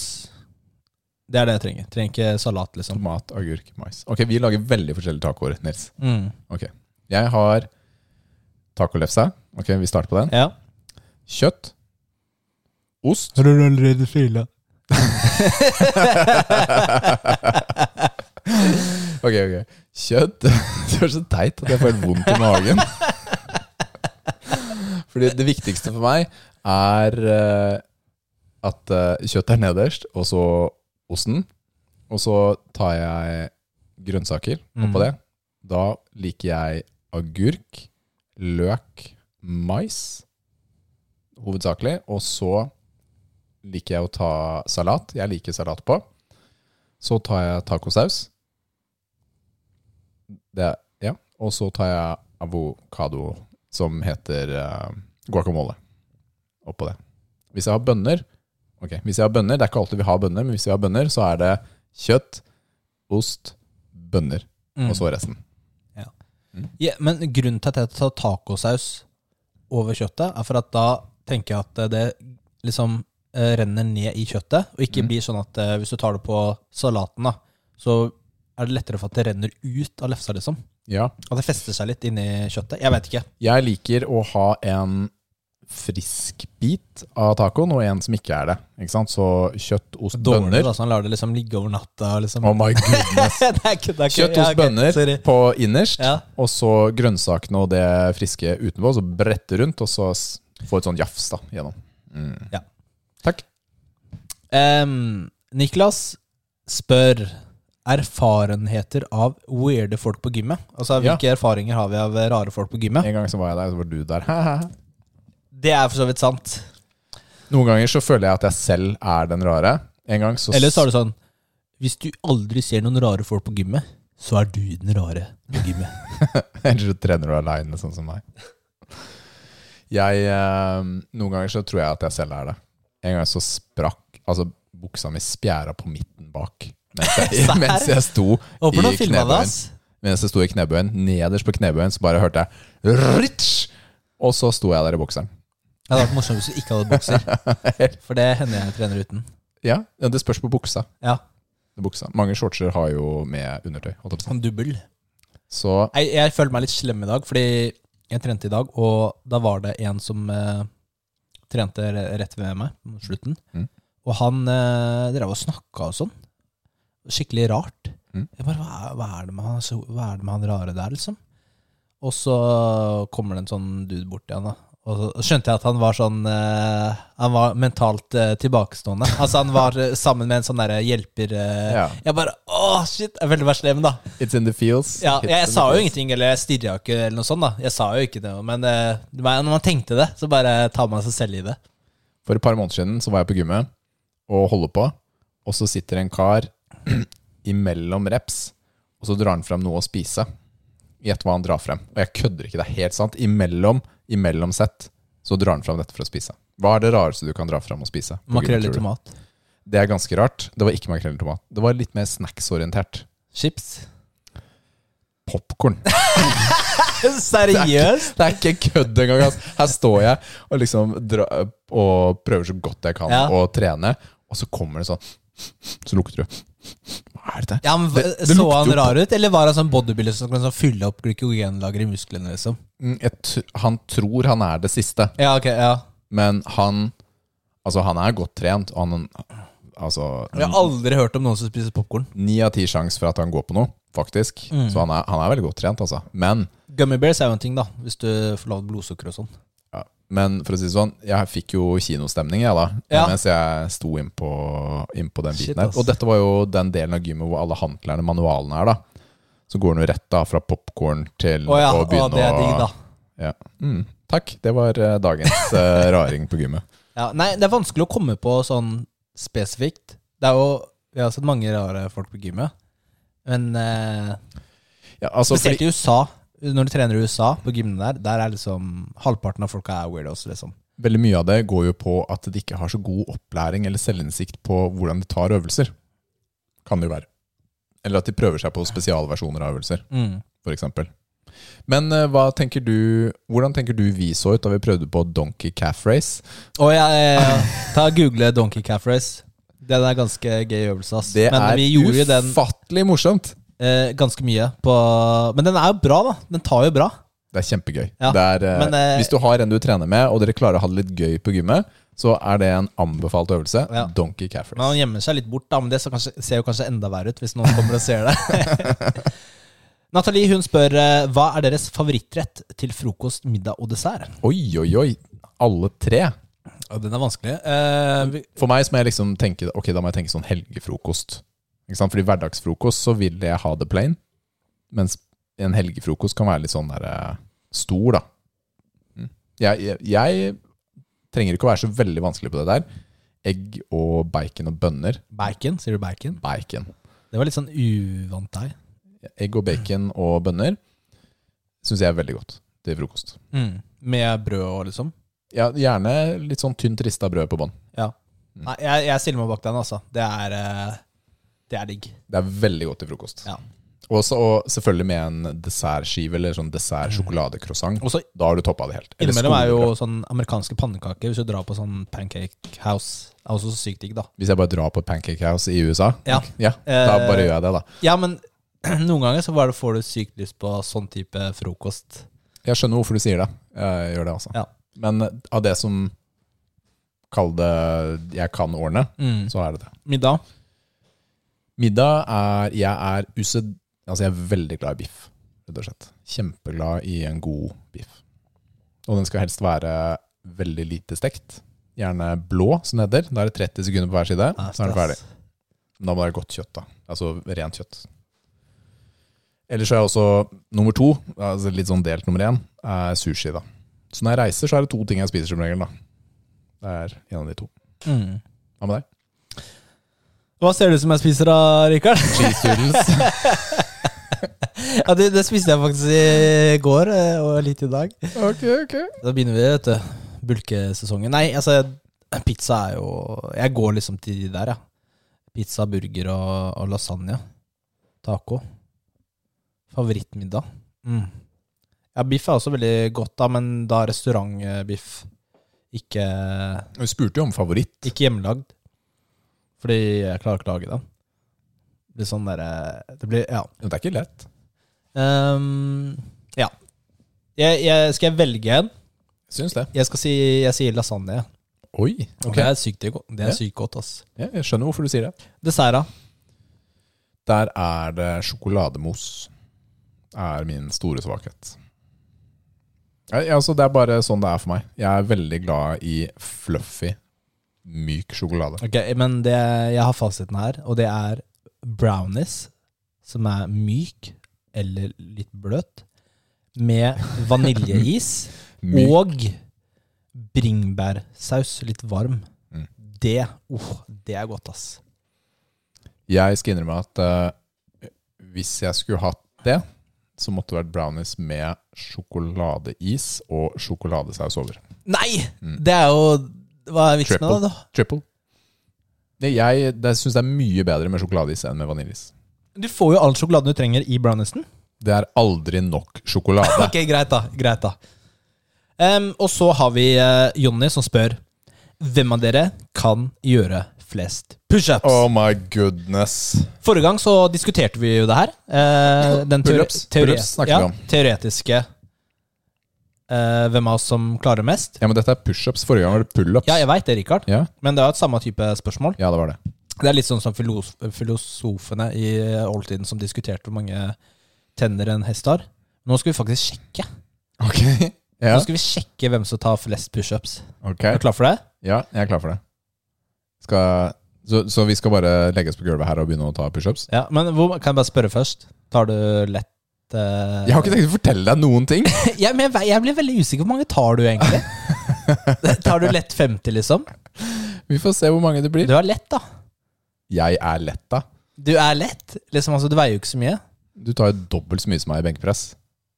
[SPEAKER 1] Det er det jeg trenger. Trenger ikke salat, liksom.
[SPEAKER 2] Tomat, agurk, mais. Ok, Vi lager veldig forskjellige tacoer, Nils.
[SPEAKER 1] Mm.
[SPEAKER 2] Ok, Jeg har tacolefse. Ok, vi starter på den.
[SPEAKER 1] Ja.
[SPEAKER 2] Kjøtt. Ost.
[SPEAKER 1] Har du allerede fila?
[SPEAKER 2] Ok, ok. Kjøtt. Det er så teit at jeg får helt vondt i magen. Fordi det viktigste for meg er eh, at eh, kjøttet er nederst, og så osten. Og så tar jeg grønnsaker
[SPEAKER 1] Mm.
[SPEAKER 2] oppå det. Da liker jeg agurk, løk, mais hovedsakelig. Og så liker jeg å ta salat. Jeg liker salat på. Så tar jeg tacosaus. Det, ja. Og så tar jeg avokado, som heter eh, guacamole, oppå det. Hvis jeg har bønner Ok, hvis jeg har bønner, det er ikke alltid vi har bønner, men hvis vi har bønner, så er det kjøtt, ost, bønner, og så resten.
[SPEAKER 1] Mm. Ja, men grunnen til at jeg tar tacosaus over kjøttet, er for at da tenker jeg at det liksom eh, renner ned i kjøttet, og
[SPEAKER 2] Mm.
[SPEAKER 1] ikke blir sånn at eh, hvis du tar det på salaten, da, så er det lettere for at det renner ut av lefsa, liksom.
[SPEAKER 2] Ja.
[SPEAKER 1] At det fester seg litt inni kjøttet. Jeg vet ikke.
[SPEAKER 2] Jeg liker å ha en frisk bit av tacoen, og en som ikke er det. Ikke sant? Så kjøtt, ost,
[SPEAKER 1] Dårlig,
[SPEAKER 2] bønner.
[SPEAKER 1] da, så han lar det liksom ligge over natta. Liksom.
[SPEAKER 2] Oh my goodness.
[SPEAKER 1] det er ikke, det er ikke,
[SPEAKER 2] Kjøtt,
[SPEAKER 1] ja,
[SPEAKER 2] ost,
[SPEAKER 1] ok,
[SPEAKER 2] bønner
[SPEAKER 1] sorry.
[SPEAKER 2] på innerst,
[SPEAKER 1] Ja.
[SPEAKER 2] og så grønnsakene og det friske utenpå. Så brette rundt, og så s- få et sånn jafs da, gjennom. Mm.
[SPEAKER 1] Ja.
[SPEAKER 2] Takk.
[SPEAKER 1] Em, Niklas spør erfarenheter av weirde folk på gymmet. Altså,
[SPEAKER 2] Ja.
[SPEAKER 1] Hvilke erfaringer har vi av rare folk på gymmet?
[SPEAKER 2] En gang så var jeg der, og så var du der.
[SPEAKER 1] Det er for så vidt sant.
[SPEAKER 2] Noen ganger så føler jeg at jeg selv er den rare. En gang så
[SPEAKER 1] Eller så er det sånn Hvis du aldri ser noen rare folk på gymmet, så er du den rare på gymmet.
[SPEAKER 2] Eller så trener du aleine, sånn som meg. Jeg, eh, noen ganger så tror jeg at jeg selv er det. En gang så sprakk altså, buksa mi spjæra på midten bak. Mens jeg,
[SPEAKER 1] Serr?
[SPEAKER 2] mens jeg sto
[SPEAKER 1] Håper du
[SPEAKER 2] i
[SPEAKER 1] har filma det,
[SPEAKER 2] knebøyen.
[SPEAKER 1] ass.
[SPEAKER 2] Mens jeg sto i knebøyen, nederst på knebøyen, så bare hørte jeg Ritsch! Og så sto jeg der i bokseren.
[SPEAKER 1] Det hadde vært morsomt hvis du ikke hadde bukser. For det hender jeg trener uten.
[SPEAKER 2] Ja, ja, Det spørs på buksa.
[SPEAKER 1] Ja,
[SPEAKER 2] buksa. Mange shortser har jo med undertøy. holdt jeg på å si.
[SPEAKER 1] sånn dubbel.
[SPEAKER 2] Så
[SPEAKER 1] Jeg, jeg følte meg litt slem i dag, fordi jeg trente i dag, og da var det en som eh, trente re- rett ved meg mot slutten.
[SPEAKER 2] Mm.
[SPEAKER 1] Og han eh, drev og snakka og sånn. Skikkelig rart.
[SPEAKER 2] Mm.
[SPEAKER 1] Jeg bare, hva, er- hva, er det med han, så- hva er det med han rare der, liksom? Og så kommer det en sånn dude bort til han, da. Og så skjønte jeg at han var sånn eh, Han var mentalt eh, tilbakestående. Altså Han var eh, sammen med en sånn derre hjelper eh,
[SPEAKER 2] Ja.
[SPEAKER 1] Jeg bare Å, shit! Jeg ville vært slem, da.
[SPEAKER 2] it's in the fields.
[SPEAKER 1] Ja, jeg,
[SPEAKER 2] Hits in
[SPEAKER 1] jeg
[SPEAKER 2] the
[SPEAKER 1] sa jo
[SPEAKER 2] fields.
[SPEAKER 1] ingenting, eller jeg stirra jo ikke, eller noe sånt. da Jeg sa jo ikke det, men eh, det var- når man tenkte det, så bare tar man seg selv i det.
[SPEAKER 2] For et par måneder siden så var jeg på gymmet og holder på, og så sitter en kar imellom reps, og så drar han frem noe å spise. Gjett hva han drar frem. Og jeg kødder ikke, det er helt sant. Imellom, imellom sett, så drar han frem dette for å spise. Hva er det rareste du kan dra frem og spise? på
[SPEAKER 1] Makrell i
[SPEAKER 2] gymmet, tror du?
[SPEAKER 1] tomat.
[SPEAKER 2] Det er ganske rart. Det var ikke makrell i tomat. Det var litt mer snacksorientert.
[SPEAKER 1] Chips.
[SPEAKER 2] Popkorn.
[SPEAKER 1] Seriøst?
[SPEAKER 2] Det er ikke kødd engang. ass. Her står jeg og liksom dra, og prøver så godt jeg kan
[SPEAKER 1] Ja.
[SPEAKER 2] å trene, og så kommer det sånn Så lukter du. Hva er dette?
[SPEAKER 1] Ja, men
[SPEAKER 2] Det- det
[SPEAKER 1] Så
[SPEAKER 2] lukter
[SPEAKER 1] han
[SPEAKER 2] jo-
[SPEAKER 1] rar ut, eller var han sånn bodybuilder som kan sånn fylle opp glykogenlager i musklene? liksom?
[SPEAKER 2] Mm, Jeg tr han tror han er det siste,
[SPEAKER 1] Ja, ok, ja
[SPEAKER 2] men han Altså, han er godt trent. og Han, altså,
[SPEAKER 1] Jeg har aldri hørt om noen som spiser popkorn.
[SPEAKER 2] Ni av ti sjanse for at han går på noe, faktisk. Så han er, han er veldig godt trent, altså. Men,
[SPEAKER 1] Gummibears er jo en ting, da, hvis du får lavt blodsukker og sånn.
[SPEAKER 2] ja, men for å si det sånn, jeg fikk jo kinostemning, jeg, da.
[SPEAKER 1] Ja.
[SPEAKER 2] Mens jeg sto innpå inn på den
[SPEAKER 1] Shit,
[SPEAKER 2] biten her.
[SPEAKER 1] ass.
[SPEAKER 2] Og dette var jo den delen av gymmet hvor alle handlerne, manualene, er, da. Så går han jo rett da fra popkorn til
[SPEAKER 1] Å ja,
[SPEAKER 2] å
[SPEAKER 1] å, det
[SPEAKER 2] begynne
[SPEAKER 1] er digg, da.
[SPEAKER 2] Ja. Mm, takk. Det var eh, dagens eh, raring på gymmet.
[SPEAKER 1] Ja, nei, det er vanskelig å komme på sånn spesifikt. Det er jo Jeg har sett mange rare folk på gymmet, men eh,
[SPEAKER 2] Ja, altså, fordi-
[SPEAKER 1] Spesielt i USA. Når du trener i USA, på gymmet der, der er liksom halvparten av folka er weirdos, liksom.
[SPEAKER 2] Veldig mye av det går jo på at de ikke har så god opplæring eller selvinnsikt på hvordan de tar øvelser. Kan det jo være. Eller at de prøver seg på spesialversjoner av øvelser, f.eks. Men eh, hva tenker du, hvordan tenker du vi så ut da vi prøvde på donkey calf race?
[SPEAKER 1] Og jeg, jeg ta og Google Donkey Calf Race. Den er ganske gøy øvelse, ass.
[SPEAKER 2] Det
[SPEAKER 1] Men vi gjorde jo
[SPEAKER 2] er
[SPEAKER 1] den
[SPEAKER 2] ufattelig morsomt!
[SPEAKER 1] eh, ganske mye på Men den er jo bra, da. Den tar jo bra.
[SPEAKER 2] Det er kjempegøy.
[SPEAKER 1] Ja,
[SPEAKER 2] Det er, eh,
[SPEAKER 1] men, eh,
[SPEAKER 2] hvis du har en du trener med, og dere klarer å ha det litt gøy på gymmet, så er det en anbefalt øvelse.
[SPEAKER 1] Ja.
[SPEAKER 2] Donkey calf
[SPEAKER 1] Men han
[SPEAKER 2] race.
[SPEAKER 1] gjemmer seg litt bort, da. Men det ser kanskje, ser jo kanskje enda verre ut hvis noen kommer og ser det. Nathalie hun spør eh, hva er deres favorittrett til frokost, middag og dessert.
[SPEAKER 2] Oi, oi, oi! Alle tre.
[SPEAKER 1] den er vanskelig.
[SPEAKER 2] For meg så må jeg liksom tenke Ok, da må jeg tenke sånn helgefrokost. Ikke sant? Fordi hverdagsfrokost så vil jeg ha det plain. Mens en helgefrokost kan være litt sånn der eh, stor, da. Mm. Jeg, jeg, jeg trenger ikke å være så veldig vanskelig på det der. Egg og bacon og bønner.
[SPEAKER 1] bacon, sier du bacon?
[SPEAKER 2] Bacon.
[SPEAKER 1] Det var litt sånn uvant deg.
[SPEAKER 2] Egg og bacon og bønner syns jeg er veldig godt til frokost.
[SPEAKER 1] Med Mm. brød og liksom?
[SPEAKER 2] Ja, gjerne litt sånn tynt rista brød på bånn.
[SPEAKER 1] Ja. Nei, jeg, jeg stiller meg bak den, altså. Det er, eh, det er digg.
[SPEAKER 2] Det er veldig godt til frokost.
[SPEAKER 1] Ja.
[SPEAKER 2] Og så- og selvfølgelig med en dessertskive eller sånn dessertsjokoladecroissant.
[SPEAKER 1] Og så
[SPEAKER 2] Da har du toppa det helt. Eller
[SPEAKER 1] Mm. innimellom er jo
[SPEAKER 2] skolekropp.
[SPEAKER 1] sånn amerikanske pannekaker, hvis du drar på sånn pancake house, er også sykt digg, da.
[SPEAKER 2] Hvis jeg bare drar på et pancake house i USA,
[SPEAKER 1] Ja.
[SPEAKER 2] ja, da
[SPEAKER 1] Eh,
[SPEAKER 2] bare gjør jeg det, da.
[SPEAKER 1] Ja, men noen ganger så bare får du sykt lyst på sånn type frokost.
[SPEAKER 2] Jeg skjønner hvorfor du sier det. Jeg gjør det, altså.
[SPEAKER 1] Ja.
[SPEAKER 2] Men av det som Kall det jeg kan ordne,
[SPEAKER 1] Mm.
[SPEAKER 2] så er det det.
[SPEAKER 1] Middag.
[SPEAKER 2] Middag er Jeg er used... Altså, jeg er veldig glad i biff, rett og slett. Kjempeglad i en god biff. Og den skal helst være veldig lite stekt. Gjerne blå, som det heter. Da er det 30 sekunder på hver side,
[SPEAKER 1] Nei,
[SPEAKER 2] så er den ferdig.
[SPEAKER 1] stress.
[SPEAKER 2] Men da må det være godt kjøtt, da. Altså rent kjøtt. Ellers er jeg også nummer to, altså litt sånn delt nummer én, er sushi, da. Så når jeg reiser, så er det to ting jeg spiser som regel, da. Det er en av de to.
[SPEAKER 1] Mm.
[SPEAKER 2] Hva med deg?
[SPEAKER 1] Hva ser du som jeg spiser da, Rikard?
[SPEAKER 2] Cheese doodles.
[SPEAKER 1] Ja, det, det spiste jeg faktisk i går, eh, og litt i dag.
[SPEAKER 2] ok, ok.
[SPEAKER 1] Da begynner vi, vet du. Bulkesesongen. Nei, altså, pizza er jo Jeg går liksom til de der, ja. Pizza, burger og, og lasagne. Taco. Favorittmiddag. Mm. Ja, biff er også veldig godt, da, men da restaurantbiff. Ikke,
[SPEAKER 2] Du spurte jo om favoritt.
[SPEAKER 1] ikke hjemmelagd. Fordi jeg klarer ikke å lage den. Det blir sånn derre Det blir Ja.
[SPEAKER 2] Men Det er ikke lett.
[SPEAKER 1] Ehm, ja. Jeg, jeg, skal jeg velge en?
[SPEAKER 2] Syns det.
[SPEAKER 1] Jeg skal si jeg sier lasagne.
[SPEAKER 2] Oi.
[SPEAKER 1] Og
[SPEAKER 2] Ok.
[SPEAKER 1] Det er sykt godt. Det er
[SPEAKER 2] Ja.
[SPEAKER 1] sykt godt ass.
[SPEAKER 2] Ja, jeg skjønner hvorfor du sier det.
[SPEAKER 1] Dessert, da?
[SPEAKER 2] Der er det sjokolademousse. Er min store svakhet. Ja, ja, altså, det er bare sånn det er for meg. Jeg er veldig glad i fluffy, myk sjokolade.
[SPEAKER 1] Ok, men det, jeg har fasiten her, og det er brownies, som er myk eller litt bløt, med vaniljeis
[SPEAKER 2] Myk.
[SPEAKER 1] og bringebærsaus, litt varm.
[SPEAKER 2] Mm.
[SPEAKER 1] Det, oh, det er godt, ass.
[SPEAKER 2] Jeg skal innrømme at eh, hvis jeg skulle hatt det, så måtte det vært brownies med sjokoladeis og sjokoladesaus over.
[SPEAKER 1] Nei! Det er jo Hva er vitsen med det? da?
[SPEAKER 2] Mm. Triple. Det, jeg det syns det er mye bedre med sjokoladeis enn med vaniljeis.
[SPEAKER 1] Du får jo all sjokoladen du trenger i browniesen.
[SPEAKER 2] Det er aldri nok sjokolade.
[SPEAKER 1] Ok, greit da, greit da. Em, og så har vi eh, Jonny som spør Hvem av dere kan gjøre flest pushups?
[SPEAKER 2] Oh my goodness.
[SPEAKER 1] Forrige gang så diskuterte vi jo det her. eh, den teore-
[SPEAKER 2] Pull-ups,
[SPEAKER 1] teore-
[SPEAKER 2] pull-ups snakker vi om.
[SPEAKER 1] Teoretiske eh, Hvem av oss som klarer mest?
[SPEAKER 2] Ja, men dette er pushups. Forrige gang var det pullups.
[SPEAKER 1] Ja, jeg veit det, Rikard.
[SPEAKER 2] ja?
[SPEAKER 1] Men det er jo et samme type spørsmål.
[SPEAKER 2] ja, det var det.
[SPEAKER 1] Det er litt sånn som filos filosofene i oldtiden som diskuterte hvor mange tenner en hest har. Nå skal vi faktisk sjekke.
[SPEAKER 2] Ok. Ja.
[SPEAKER 1] Nå skal vi sjekke hvem som tar flest pushups.
[SPEAKER 2] Ok.
[SPEAKER 1] Er du klar for det?
[SPEAKER 2] ja, jeg er klar for det. Skal, så, så vi skal bare legge oss på gulvet her og begynne å ta pushups?
[SPEAKER 1] Ja, men hvor, Kan jeg bare spørre først? Tar du lett eh,
[SPEAKER 2] Jeg har ikke tenkt å fortelle deg noen ting.
[SPEAKER 1] Ja, men jeg, ve- jeg blir veldig usikker. Hvor mange tar du egentlig? tar du lett 50, liksom?
[SPEAKER 2] Vi får se hvor mange det blir.
[SPEAKER 1] Du er lett, da.
[SPEAKER 2] Jeg er lett, da.
[SPEAKER 1] Du er lett. Liksom, altså, Du veier jo ikke så mye.
[SPEAKER 2] Du tar jo dobbelt så mye som meg i benkpress.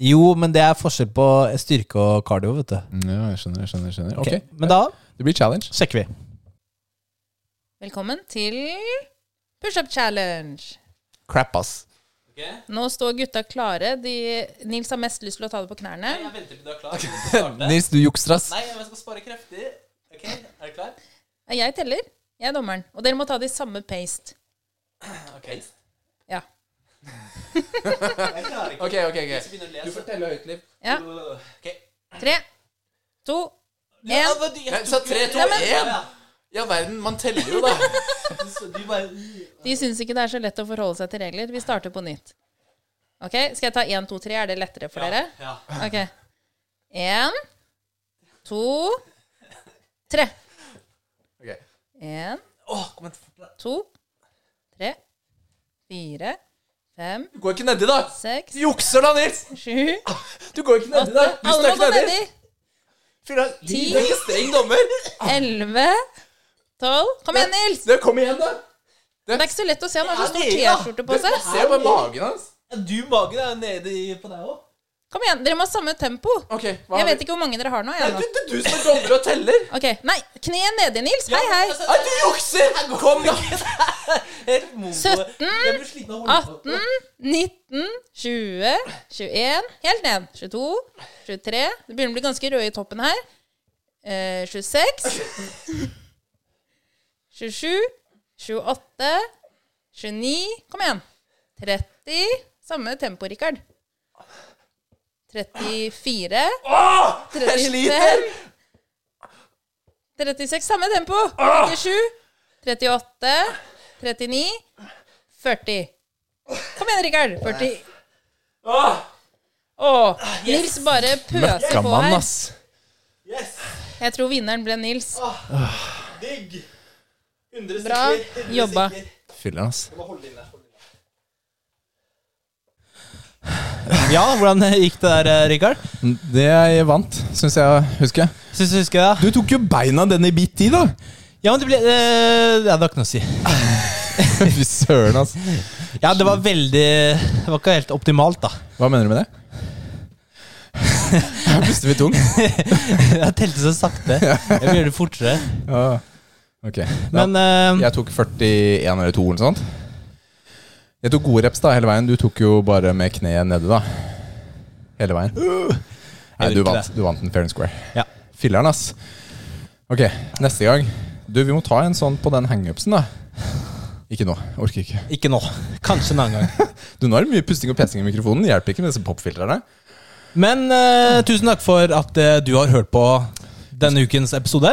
[SPEAKER 1] Jo, men det er forskjell på styrke og cardio, vet du.
[SPEAKER 2] Mm, Ja, jeg skjønner, jeg skjønner. jeg skjønner.
[SPEAKER 1] Ok,
[SPEAKER 2] Ok,
[SPEAKER 1] Men da
[SPEAKER 2] Det blir challenge.
[SPEAKER 1] sjekker vi.
[SPEAKER 4] Velkommen til Pushup Challenge.
[SPEAKER 2] Crap, ass.
[SPEAKER 4] Nå står gutta klare. De, Nils har mest lyst til å ta det på knærne.
[SPEAKER 1] venter til du er klar.
[SPEAKER 2] Nils, du jukser, ass.
[SPEAKER 1] Nei, jeg skal spare krefter. Ok, Er du klar?
[SPEAKER 4] Jeg teller. Jeg er dommeren. Og dere må ta det i samme paste. Ja.
[SPEAKER 2] Ok, ok, ok. Du forteller høytliv.
[SPEAKER 4] ja. Tre, to, én.
[SPEAKER 2] Jeg sa tre, to, Ja, verden, man teller jo, da.
[SPEAKER 4] De syns ikke det er så lett å forholde seg til regler. Vi starter på nytt. Ok, Skal jeg ta én, to, tre? Er det lettere for dere?
[SPEAKER 1] Ja.
[SPEAKER 4] Ok. Én, to, tre.
[SPEAKER 2] Ok.
[SPEAKER 4] Én, to, tre, fire, fem,
[SPEAKER 1] Du går ikke nedi, da!
[SPEAKER 4] seks,
[SPEAKER 1] Jukser, da, Nils!
[SPEAKER 4] sju,
[SPEAKER 1] Du går ikke nedi, da!
[SPEAKER 4] åtte Alle må gå nedi.
[SPEAKER 1] Ti.
[SPEAKER 4] Du er ikke
[SPEAKER 1] streng dommer.
[SPEAKER 4] Elleve, tolv Kom igjen, Nils!
[SPEAKER 2] Kom igjen, da.
[SPEAKER 4] Det er ikke så lett å se. Han har så stor
[SPEAKER 1] Ja, Nils, da.
[SPEAKER 4] T-skjorte på seg.
[SPEAKER 2] Se på magen hans.
[SPEAKER 1] Du, magen er jo nedi på deg òg.
[SPEAKER 4] Kom igjen, dere må ha samme tempo.
[SPEAKER 5] Ok, hva
[SPEAKER 4] Jeg
[SPEAKER 5] har
[SPEAKER 4] vet
[SPEAKER 5] vi?
[SPEAKER 4] ikke hvor mange dere har nå.
[SPEAKER 5] Det
[SPEAKER 4] Jeg,
[SPEAKER 5] er
[SPEAKER 4] nå.
[SPEAKER 5] du- det er du som er dommer og teller!
[SPEAKER 4] Ok, Nei, kne nedi, Nils. Hei, hei.
[SPEAKER 5] Nei, du jukser! Kom, da!
[SPEAKER 4] 17, 18, 19, 20, 21, helt ned. 22, 23. Du begynner å bli ganske rød i toppen her. Eh, 26, 27, 28, 29. Kom igjen. 30. Samme tempo, Rikard. 34.
[SPEAKER 5] Jeg sliter!
[SPEAKER 4] 36, samme tempo.
[SPEAKER 5] Ah!
[SPEAKER 4] 37, 38, 39, 40. Kom igjen, Rikard. 40.
[SPEAKER 5] Åh,
[SPEAKER 4] Åh, Nils bare pøser på
[SPEAKER 2] Møkkamann,
[SPEAKER 4] her.
[SPEAKER 2] ass.
[SPEAKER 5] yes!
[SPEAKER 4] Jeg tror vinneren ble Nils.
[SPEAKER 5] Digg! 100
[SPEAKER 4] Bra
[SPEAKER 5] sekunder, 100
[SPEAKER 4] jobba.
[SPEAKER 5] sekunder.
[SPEAKER 2] Filler'n, ass.
[SPEAKER 5] Må holde inne, holde inne.
[SPEAKER 1] Ja, hvordan gikk det der, eh, Rikard?
[SPEAKER 2] Mm, Det jeg vant, syns jeg husker. jeg.
[SPEAKER 1] Syns du husker det?
[SPEAKER 2] Du tok jo beina den i bit tid, da!
[SPEAKER 1] Ja, men det ble eh, Det hadde ikke noe å si.
[SPEAKER 2] Fy søren, ass.
[SPEAKER 1] Ja, det var veldig Det var ikke helt optimalt, da.
[SPEAKER 2] Hva mener du med det? Jeg puster litt tung.
[SPEAKER 1] Jeg telte så sakte. Jeg må gjøre det fortere.
[SPEAKER 2] Ja. Ok. Ja.
[SPEAKER 1] Men eh,
[SPEAKER 2] Jeg tok 41 eller 2 eller noe sånt. Jeg tok gode reps da hele veien. Du tok jo bare med kneet nede, da. Hele veien. Nei,
[SPEAKER 1] gjorde
[SPEAKER 2] du
[SPEAKER 1] ikke
[SPEAKER 2] vant,
[SPEAKER 1] det.
[SPEAKER 2] du vant den fair and square.
[SPEAKER 1] Ja.
[SPEAKER 2] Filler'n, ass. Ok, neste gang. Du, vi må ta en sånn på den hangupsen, da. Ikke nå. Orker ikke.
[SPEAKER 1] ikke nå. Kanskje en annen gang.
[SPEAKER 2] Du, nå er det mye pusting og pesing i mikrofonen. Det hjelper ikke med disse popfiltrene.
[SPEAKER 1] Men eh, tusen takk for at eh, du har hørt på denne ukens episode.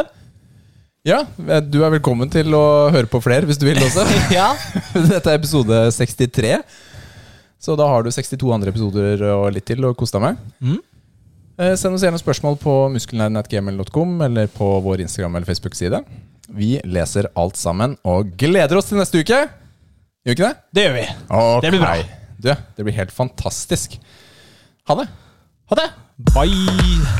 [SPEAKER 2] Ja, eh, du er velkommen til å høre på flere hvis du vil også.
[SPEAKER 1] Ja.
[SPEAKER 2] Dette er episode 63. Så da har du 62 andre episoder og litt til å kose deg med.
[SPEAKER 1] Mm.
[SPEAKER 2] Eh, send oss gjerne spørsmål på muskelnæren.gmil.com eller på vår Instagram- eller Facebook-side. Vi leser alt sammen og gleder oss til neste uke! Gjør vi ikke det?
[SPEAKER 1] Det gjør vi.
[SPEAKER 2] Ok.
[SPEAKER 1] Det blir bra.
[SPEAKER 2] Du, det blir helt fantastisk. Ha det.
[SPEAKER 1] Ha det. Bye.